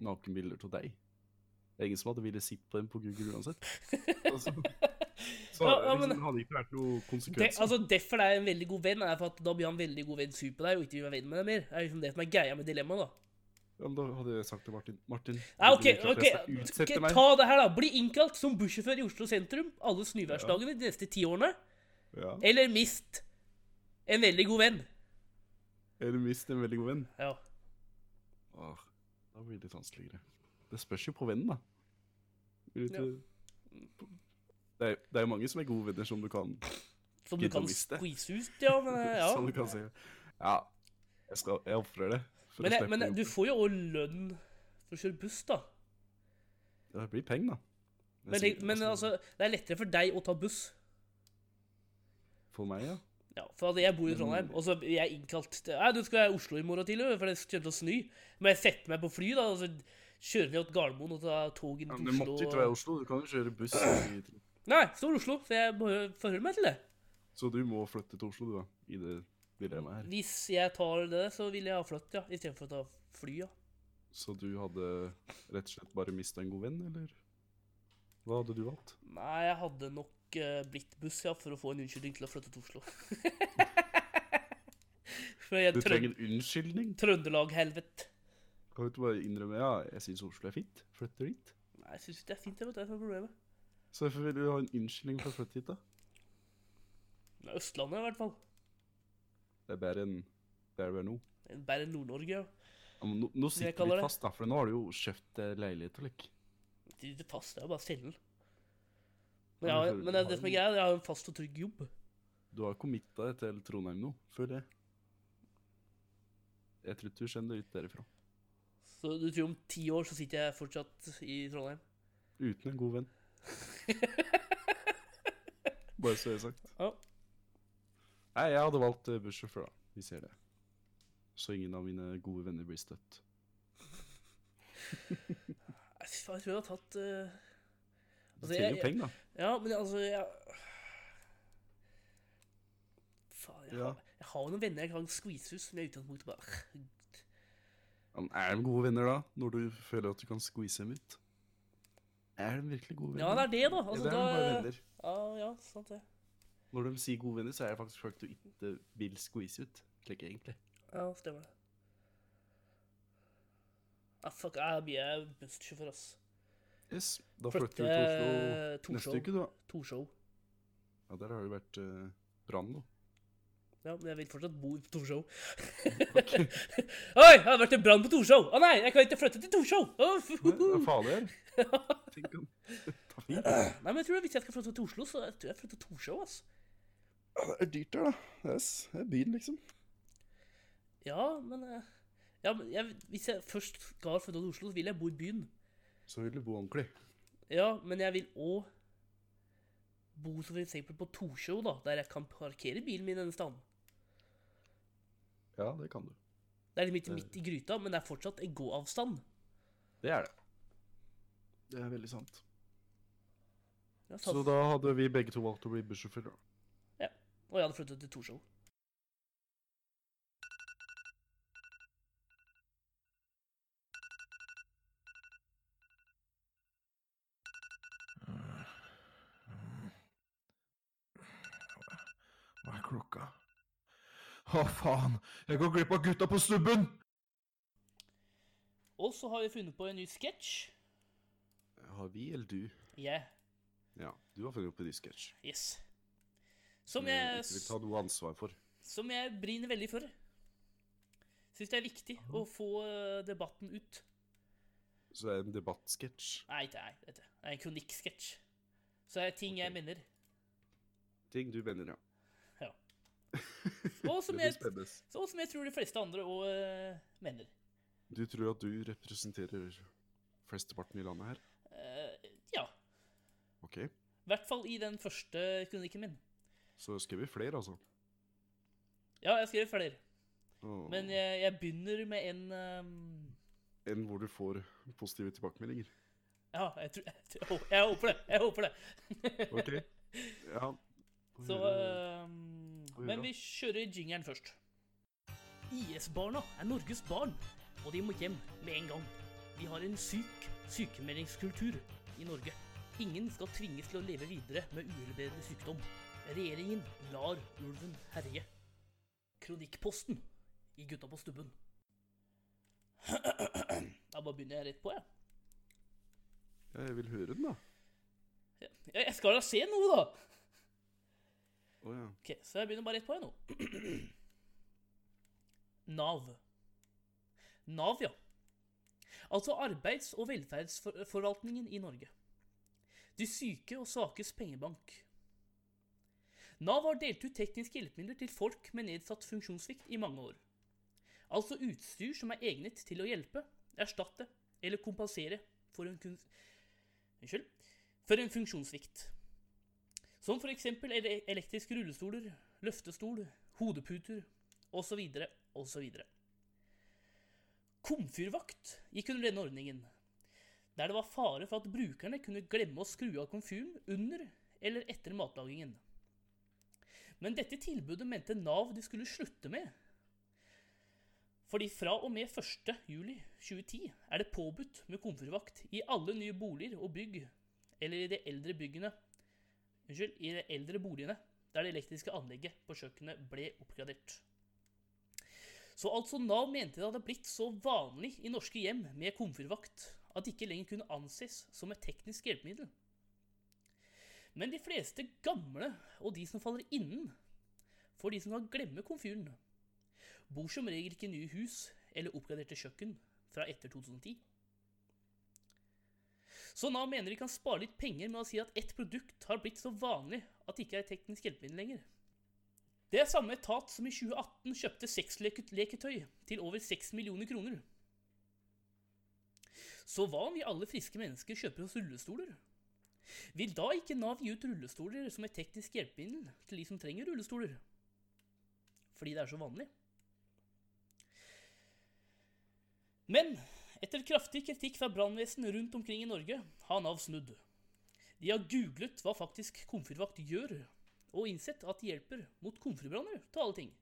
S1: nakenbilder til deg. Det er ingen som hadde ville sett på dem på Google uansett. Altså, så
S2: Ja, ja,
S1: liksom,
S2: men-
S1: det hadde ikke vært noe
S2: Det,
S1: konsekvenser.
S2: altså, Derfor det er en veldig god venn, er for at da blir han veldig god venn sur på deg og ikke vil være venn med deg mer. Det er liksom det som er greia med dilemmaet, da.
S1: Ja, men da hadde jeg sagt til Martin Martin,
S2: Ja,
S1: du
S2: ok,
S1: vil ikke at
S2: ok,
S1: jeg skal utsette
S2: ok,
S1: meg.
S2: Ta det her, da. Bli innkalt som bussjåfør i Oslo sentrum alle snøværsdagene de neste ti årene.
S1: Ja.
S2: Eller mist en veldig god venn.
S1: Eller mist en veldig god venn.
S2: Ja.
S1: Åh, da blir det litt vanskeligere. Det spørs jo på vennen, da. Blir litt,
S2: Ja.
S1: Det er- det er jo mange som er gode venner, som du kan
S2: Som du
S1: Gidder å
S2: kan
S1: miste.
S2: squeeze ut, ja. Men, eh,
S1: Som du
S2: ja.
S1: kan si. Ja, jeg, skal, jeg offrer det. for å
S2: men, eh,
S1: slippe
S2: men eh,
S1: jobb.
S2: du får jo òg lønn for å kjøre buss, da.
S1: Det blir penger, da. Det er
S2: Men,
S1: sikkert-
S2: det- men altså, det er lettere for deg å ta buss.
S1: For meg, ja.
S2: Ja, for at jeg bor i Trondheim, og så blir jeg innkalt til Nei, du skal være i Oslo i morgen tidlig, for det kommer til å snø. Må jeg sette meg på fly, da, og så kjører vi til Gardermoen og tar toget inn
S1: Men
S2: til
S1: det
S2: Oslo?
S1: måtte ikke være Oslo. Du kan jo kjøre buss. i-
S2: Nei, står Oslo, så jeg må forholde meg til det.
S1: Så du må flytte til Oslo, du, da. I det dilemmaet her.
S2: Hvis jeg tar det, så vil jeg ha flytt, ja. Istedenfor å ta fly, ja.
S1: Så du hadde rett og slett bare mista en god venn, eller? Hva hadde du valgt?
S2: Nei, jeg hadde nok eh, blitt buss, ja, for å få en unnskyldning til å flytte til Oslo. for jeg
S1: Du trenger
S2: trønd
S1: en unnskyldning.
S2: Trøndelag-helvete.
S1: Kan du ikke bare innrømme ja, jeg syns Oslo er fint? Flytter dit.
S2: Nei, jeg syns det er fint, jeg vet det, er problemet.
S1: Så hvorfor vil du ha en unnskyldning for å flytte hit, da?
S2: Det er Østlandet, i hvert fall.
S1: Det er bedre enn der du er nå.
S2: Det er Bare Nord-Norge, ja.
S1: Ja, men Nå, nå
S2: Jeg
S1: sitter
S2: kaller
S1: vi
S2: det.
S1: fast, da, for nå har du jo kjøpt eh, leilighet og lik.
S2: Det er ikke fast, det er jo bare cellen.
S1: Ja,
S2: Men, jeg, har-
S1: men
S2: men
S1: du
S2: det,
S1: har
S2: det som er
S1: jo-
S2: greia, er at jeg har en fast og trygg jobb.
S1: Du har committa deg til Trondheim nå, føler jeg. Jeg tror ikke du skjønner ut derifra.
S2: Så du tror om ti år så sitter jeg fortsatt i Trondheim?
S1: Uten en god venn. Bare så det er sagt.
S2: Ja.
S1: Nei, jeg hadde valgt eh, bussjåfør, da. Vi ser det. Så ingen av mine gode venner blir støtt.
S2: Nei, fy faen, jeg tror jeg har tatt eh,
S1: Du
S2: Altså,
S1: tjener
S2: jeg-
S1: jo penger, da.
S2: Ja, men altså jeg... Faen, jeg,
S1: Ja.
S2: har, jeg har jo noen venner jeg kan skvise ut, men jeg er utgangspunktet bare
S1: Ja, Men er de gode venner, da? Når du føler at du kan squeeze dem ut? Er de virkelig gode venner?
S2: Ja, det er det, da. Altså,
S1: Eller er de bare
S2: da
S1: venner?
S2: ja, ja, sant det.
S1: Når de sier gode venner, så er det faktisk folk du ikke vil squeeze ut. Slik egentlig.
S2: Ja, stemmer det. Ah, fuck, jeg blir jeg bussjåfør, ass.
S1: Yes, da
S2: Flytte
S1: flytter vi til Oslo
S2: Torshov.
S1: neste uke, da.
S2: Torshov.
S1: Ja, der har det vært eh, brann, da.
S2: Ja, men jeg vil fortsatt bo på Torshov. Oi, det har vært en brann på Torshov! Å nei, jeg kan ikke flytte til Torshov! Å, fu-
S1: Nei, Det er farlig her. Tenk om Ta fint.
S2: nei, men jeg tror hvis jeg skal flytte til Oslo, så jeg tror jeg flytter til Torshov, ass.
S1: Ja, Det er dyrt der, da. Yes, det er byen, liksom.
S2: Ja, men eh, Ja, men jeg, hvis jeg først skal flytte til Oslo, så vil jeg bo i byen.
S1: Så vil du bo ordentlig.
S2: Ja, men jeg vil òg bo som for eksempel på Torshov, da, der jeg kan parkere bilen min denne staden.
S1: Ja, det kan du.
S2: Det er litt
S1: Eh.
S2: midt, midt i gryta, men det er fortsatt en gåavstand.
S1: Det er det. Det er veldig sant.
S2: Ja, sant.
S1: Så da hadde vi begge to valgt å bli bussjåfør, da.
S2: Og jeg hadde flyttet til Torshov.
S5: Hva er klokka? Å, faen! Jeg går glipp av gutta på stubben!
S2: Og så har vi funnet på en ny sketsj.
S1: Har vi eller du?
S2: Yeah.
S1: Ja, du har funnet opp en ny sketsj.
S2: Yes. Som
S1: jeg
S2: jeg,
S1: ikke vil ta noe ansvar for.
S2: som jeg brenner veldig for. Syns det er viktig å få eh, debatten ut.
S1: Så det er en debattsketsj.
S2: Nei, det er dette. Det er en kronikksketsj. Så det er ting jeg mener.
S1: Ting du mener, ja.
S2: Ja. Og
S1: Det
S2: som
S1: blir
S2: jeg,
S1: spennende.
S2: og som jeg tror de fleste andre òg mener.
S1: Du tror at du representerer flesteparten i landet her?
S2: Eh, ja.
S1: Ok.
S2: I hvert fall i den første kronikken min.
S1: Så skrev vi flere, altså.
S2: Ja, jeg skrev flere.
S1: Åh,
S2: Men jeg, jeg begynner med en ehm,
S1: Enn hvor du får positive tilbakemeldinger.
S2: Ja, jeg, tror, jeg, tror- jeg håper det. Jeg håper det.
S1: Ok. Ja. Får
S2: Så
S1: høre.
S2: ehm,
S1: Får
S2: Men
S1: høre.
S2: vi kjører jingeren først. IS-barna er Norges barn, og de må hjem med en gang. Vi har en syk sykemeldingskultur i Norge. Ingen skal tvinges til å leve videre med uhelbredelig sykdom. Regjeringen lar ulven herje. Kronikkposten i Gutta på stubben. Da bare begynner jeg rett på, jeg.
S1: Ja, jeg vil høre den, da.
S2: Ja, Jeg skal da se noe, da!
S1: Å ja.
S2: Ok, så jeg begynner bare rett på her nå. Nav. Nav, ja. Altså arbeids- og velferdsforvaltningen i Norge. De syke og svakes pengebank. Nav har delt ut tekniske hjelpemidler til folk med nedsatt funksjonssvikt i mange år. Altså utstyr som er egnet til å hjelpe, erstatte eller kompensere for en, kun... Unnskyld. For en funksjonssvikt. Som for eksempel ele- elektriske rullestoler, løftestol, hodeputer, osv., osv. Komfyrvakt gikk under denne ordningen, der det var fare for at brukerne kunne glemme å skru av komfyren under eller etter matlagingen. Men dette tilbudet mente Nav de skulle slutte med. Fordi fra og med 1. juli 2010 er det påbudt med komfyrvakt i alle nye boliger og bygg, eller i de eldre byggene Unnskyld, i de eldre boligene der det elektriske anlegget på kjøkkenet ble oppgradert. Så altså Nav mente det hadde blitt så vanlig i norske hjem med komfyrvakt at det ikke lenger kunne anses som et teknisk hjelpemiddel. Men de fleste gamle og de som faller innen for de som kan glemme komfyren, bor som regel ikke i nye hus eller oppgraderte kjøkken fra etter 2010. Så Nav mener de kan spare litt penger med å si at ett produkt har blitt så vanlig at det ikke er et teknisk hjelpemiddel lenger. Det er samme etat som i 2018 kjøpte sexleketøy til over 6 millioner kroner. Så hva om vi alle friske mennesker kjøper oss rullestoler? Vil da ikke Nav gi ut rullestoler som et teknisk hjelpemiddel til de som trenger rullestoler? Fordi det er så vanlig. Men etter kraftig kritikk fra brannvesen rundt omkring i Norge har Nav snudd. De har googlet hva faktisk komfyrvakt gjør, og innsett at de hjelper mot komfyrbranner til alle ting,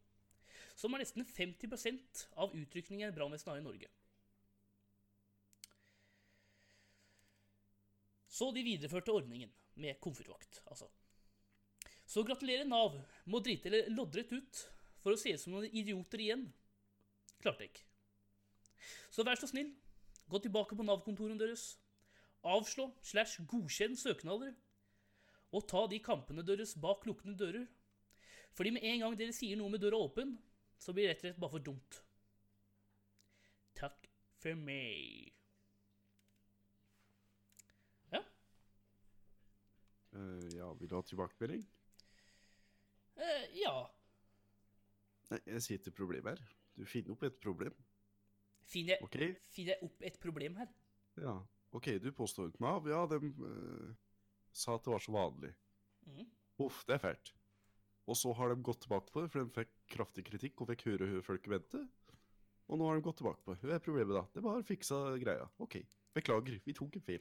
S2: som er nesten 50 av utrykningen brannvesenet har i Norge. Så de videreførte ordningen med komfyrvakt, altså. Så gratulerer Nav med å drite eller loddrett ut for å se ut som noen idioter igjen. Klarte jeg ikke. Så vær så snill, gå tilbake på Nav-kontorene deres, avslå slash godkjenn søknader, og ta de kampene deres bak lukkede dører. Fordi med en gang dere sier noe med døra åpen, så blir det rett og slett bare for dumt. Takk for meg. Ja,
S1: Eh, ja, vil du ha tilbakemelding?
S2: eh, ja.
S1: Nei, jeg sier til problemet her. Du finner opp et problem.
S2: Finner jeg,
S1: Ok?
S2: finner jeg opp et problem her?
S1: Ja. Ok, du påstår ikke meg. Ja, de eh, sa at det var så vanlig.
S2: Mhm.
S1: Uff, det er fælt. Og så har de gått tilbake på det, for de fikk kraftig kritikk og fikk høre hva folket mente. Og nå har de gått tilbake på det. Hva er problemet da? Det var fiksa greia. Ok, beklager, vi tok en feil.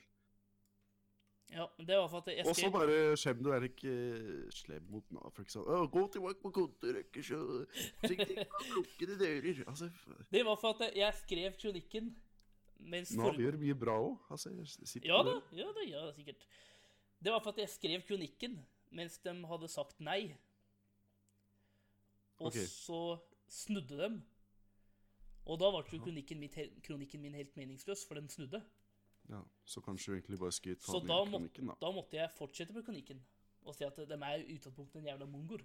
S2: Ja, det var for at jeg
S1: Og så
S2: skrev
S1: bare skjem du er ikke slem mot Nav, for eksempel. Å, gå tilbake på kontoret, ikke så Sikkert ikke bak lukkede dører. Altså, f-
S2: Det var for at jeg skrev kronikken mens
S1: Nav
S2: form-
S1: gjør mye bra òg. Altså, jeg sitter
S2: Ja
S1: på
S2: da,
S1: det.
S2: ja da, ja da, sikkert. Det var for at jeg skrev kronikken mens de hadde sagt nei. Og
S1: Ok.
S2: så snudde dem. Og da ble jo kronikken min, hel- kronikken min helt meningsløs, for de snudde.
S1: Ja, så kanskje du egentlig bare skulle ta
S2: Så
S1: den
S2: da,
S1: hele
S2: må,
S1: kronikken, da.
S2: da måtte jeg fortsette med kronikken og si at de er i utgangspunktet en jævla mongoer.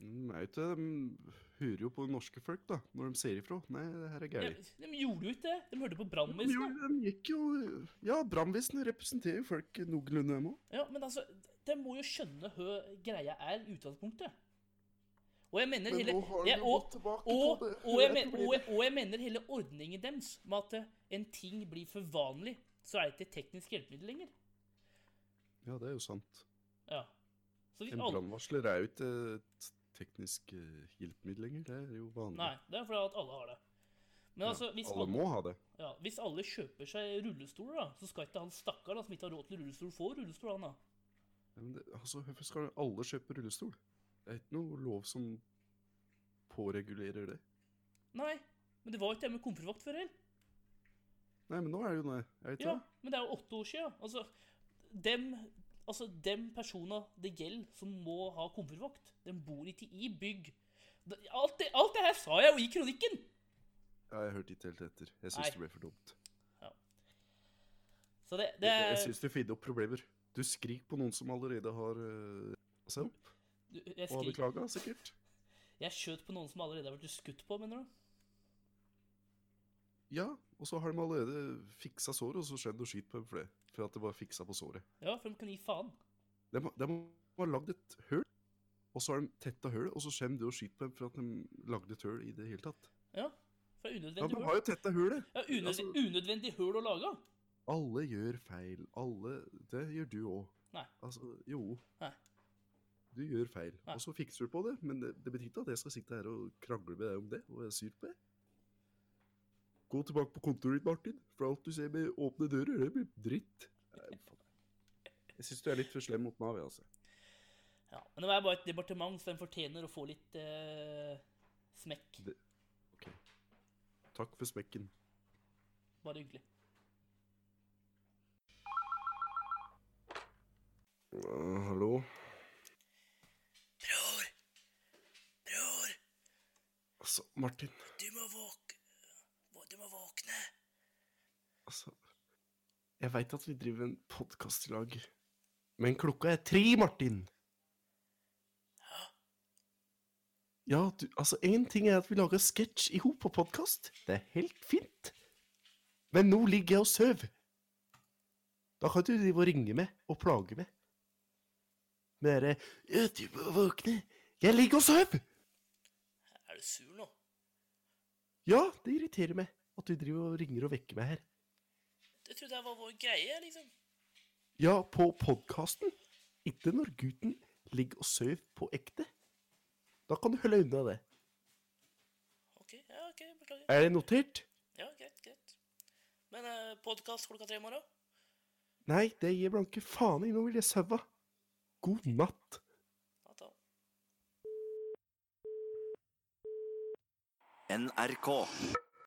S1: Mm, Nei, vet du, de hører jo på norske folk, da, når de sier ifra. Nei, det her er
S2: De,
S1: gærent.
S2: de gjorde jo ikke det. De hørte på
S1: De,
S2: brannvesenet.
S1: gjorde- de gikk jo Ja, brannvesenet representerer jo folk noenlunde, dem òg.
S2: Ja, men altså, de må jo skjønne hva greia er i utgangspunktet. Og jeg mener
S1: Men
S2: hele
S1: nå har
S2: jeg,
S1: de
S2: og,
S1: gått tilbake
S2: og,
S1: på det.
S2: og, jeg
S1: Det er
S2: men, og,
S1: problemet.
S2: jeg, og jeg mener hele ordningen deres med at eh, en ting blir for vanlig, så er det ikke et teknisk hjelpemiddel lenger.
S1: Ja, det er jo sant.
S2: Ja. Så vi
S1: En
S2: alle
S1: brannvarsler er jo ikke et teknisk eh, hjelpemiddel lenger. Det er jo vanlig.
S2: Nei, det er fordi at alle har det. Men altså, hvis
S1: Alle må ha det.
S2: Ja, hvis alle kjøper seg rullestoler, da, så skal ikke han stakkaren da, som ikke har råd til rullestol, få rullestol, han da.
S1: Ja, Men det, altså, hvorfor skal alle kjøpe rullestol? Det er ikke noe lov som påregulerer det.
S2: Nei, men det var ikke det med komfortvakt før heller.
S1: Nei, men nå er det jo det. Er det ikke
S2: Ja,
S1: det?
S2: men det er jo åtte år siden. Altså, dem, altså, dem personene det gjelder som må ha komfortvakt, de bor ikke i bygg. Det- Alt det, alt det her sa jeg jo i kronikken!
S1: Ja, jeg hørte ikke helt etter. Jeg
S2: Nei.
S1: syns det ble for dumt.
S2: Så det, det
S1: Jeg, jeg
S2: er-
S1: syns du finner opp problemer. Du skriker på noen som allerede har uh, seg opp
S2: du- jeg,
S1: og har
S2: skri,
S1: beklaga, sikkert.
S2: jeg skjøt på noen som allerede har vært skutt på, mener du?
S1: Ja, og så har de allerede fiksa såret, og så skjedde det skyt på dem for det. For at det var fiksa på såret.
S2: Ja, for de kan gi faen.
S1: De, har- de har lagd et høl, og så har de tetta hølet, og så kommer du og skyter på dem for at de lagde et høl i det hele tatt.
S2: Ja, for det er
S1: Ja,
S2: unødvendig
S1: de
S2: hull.
S1: har altså- jo tetta hølet!
S2: Ja, unødvendig, unødvendig høl å lage.
S1: Alle gjør feil. Alle Det gjør du òg.
S2: Nei.
S1: Altså, jo.
S2: Nei.
S1: Du gjør feil,
S2: Nei.
S1: og så fikser du på det. Men det, det betyr ikke at jeg skal sitte her og krangle med deg om det, og jeg er sur på det. Gå tilbake på kontoret ditt, Martin, for alt du ser med åpne dører, det blir dritt. Nei, faen. Jeg syns du er litt for slem mot Nav, jeg, altså.
S2: Ja, men det er bare et departement, så den fortjener å få litt eh, smekk.
S1: Det- Takk for smekken.
S2: Bare hyggelig.
S1: Ah, hallo?
S2: Bror! Bror!
S1: Altså, Martin
S2: Du må våkne. Du må våkne.
S1: Altså Jeg veit at vi driver en podkast i lag, men klokka er tre, Martin! Ja, du, altså, én ting er at vi lager sketsj i hop på podkast. Det er helt fint. Men nå ligger jeg og sover. Da kan du drive og ringe meg og plage meg. Med det derre «Ja, 'Du må våkne. Jeg ligger og sover!'
S2: Er du sur nå?
S1: Ja, det irriterer meg at du driver og ringer og vekker meg her.
S2: Jeg trodde det var vår greie, liksom.
S1: Ja, på podkasten. Ikke når gutten ligger og sover på ekte. Da kan du holde unna det.
S2: Ok, ja, ok, beklager.
S1: Er det notert?
S2: Ja, greit, greit. Men eh, podkast klokka tre i morgen?
S1: Nei, det gir blanke faen i. Nå vil jeg sove. God natt.
S2: Ja, ta.
S6: NRK.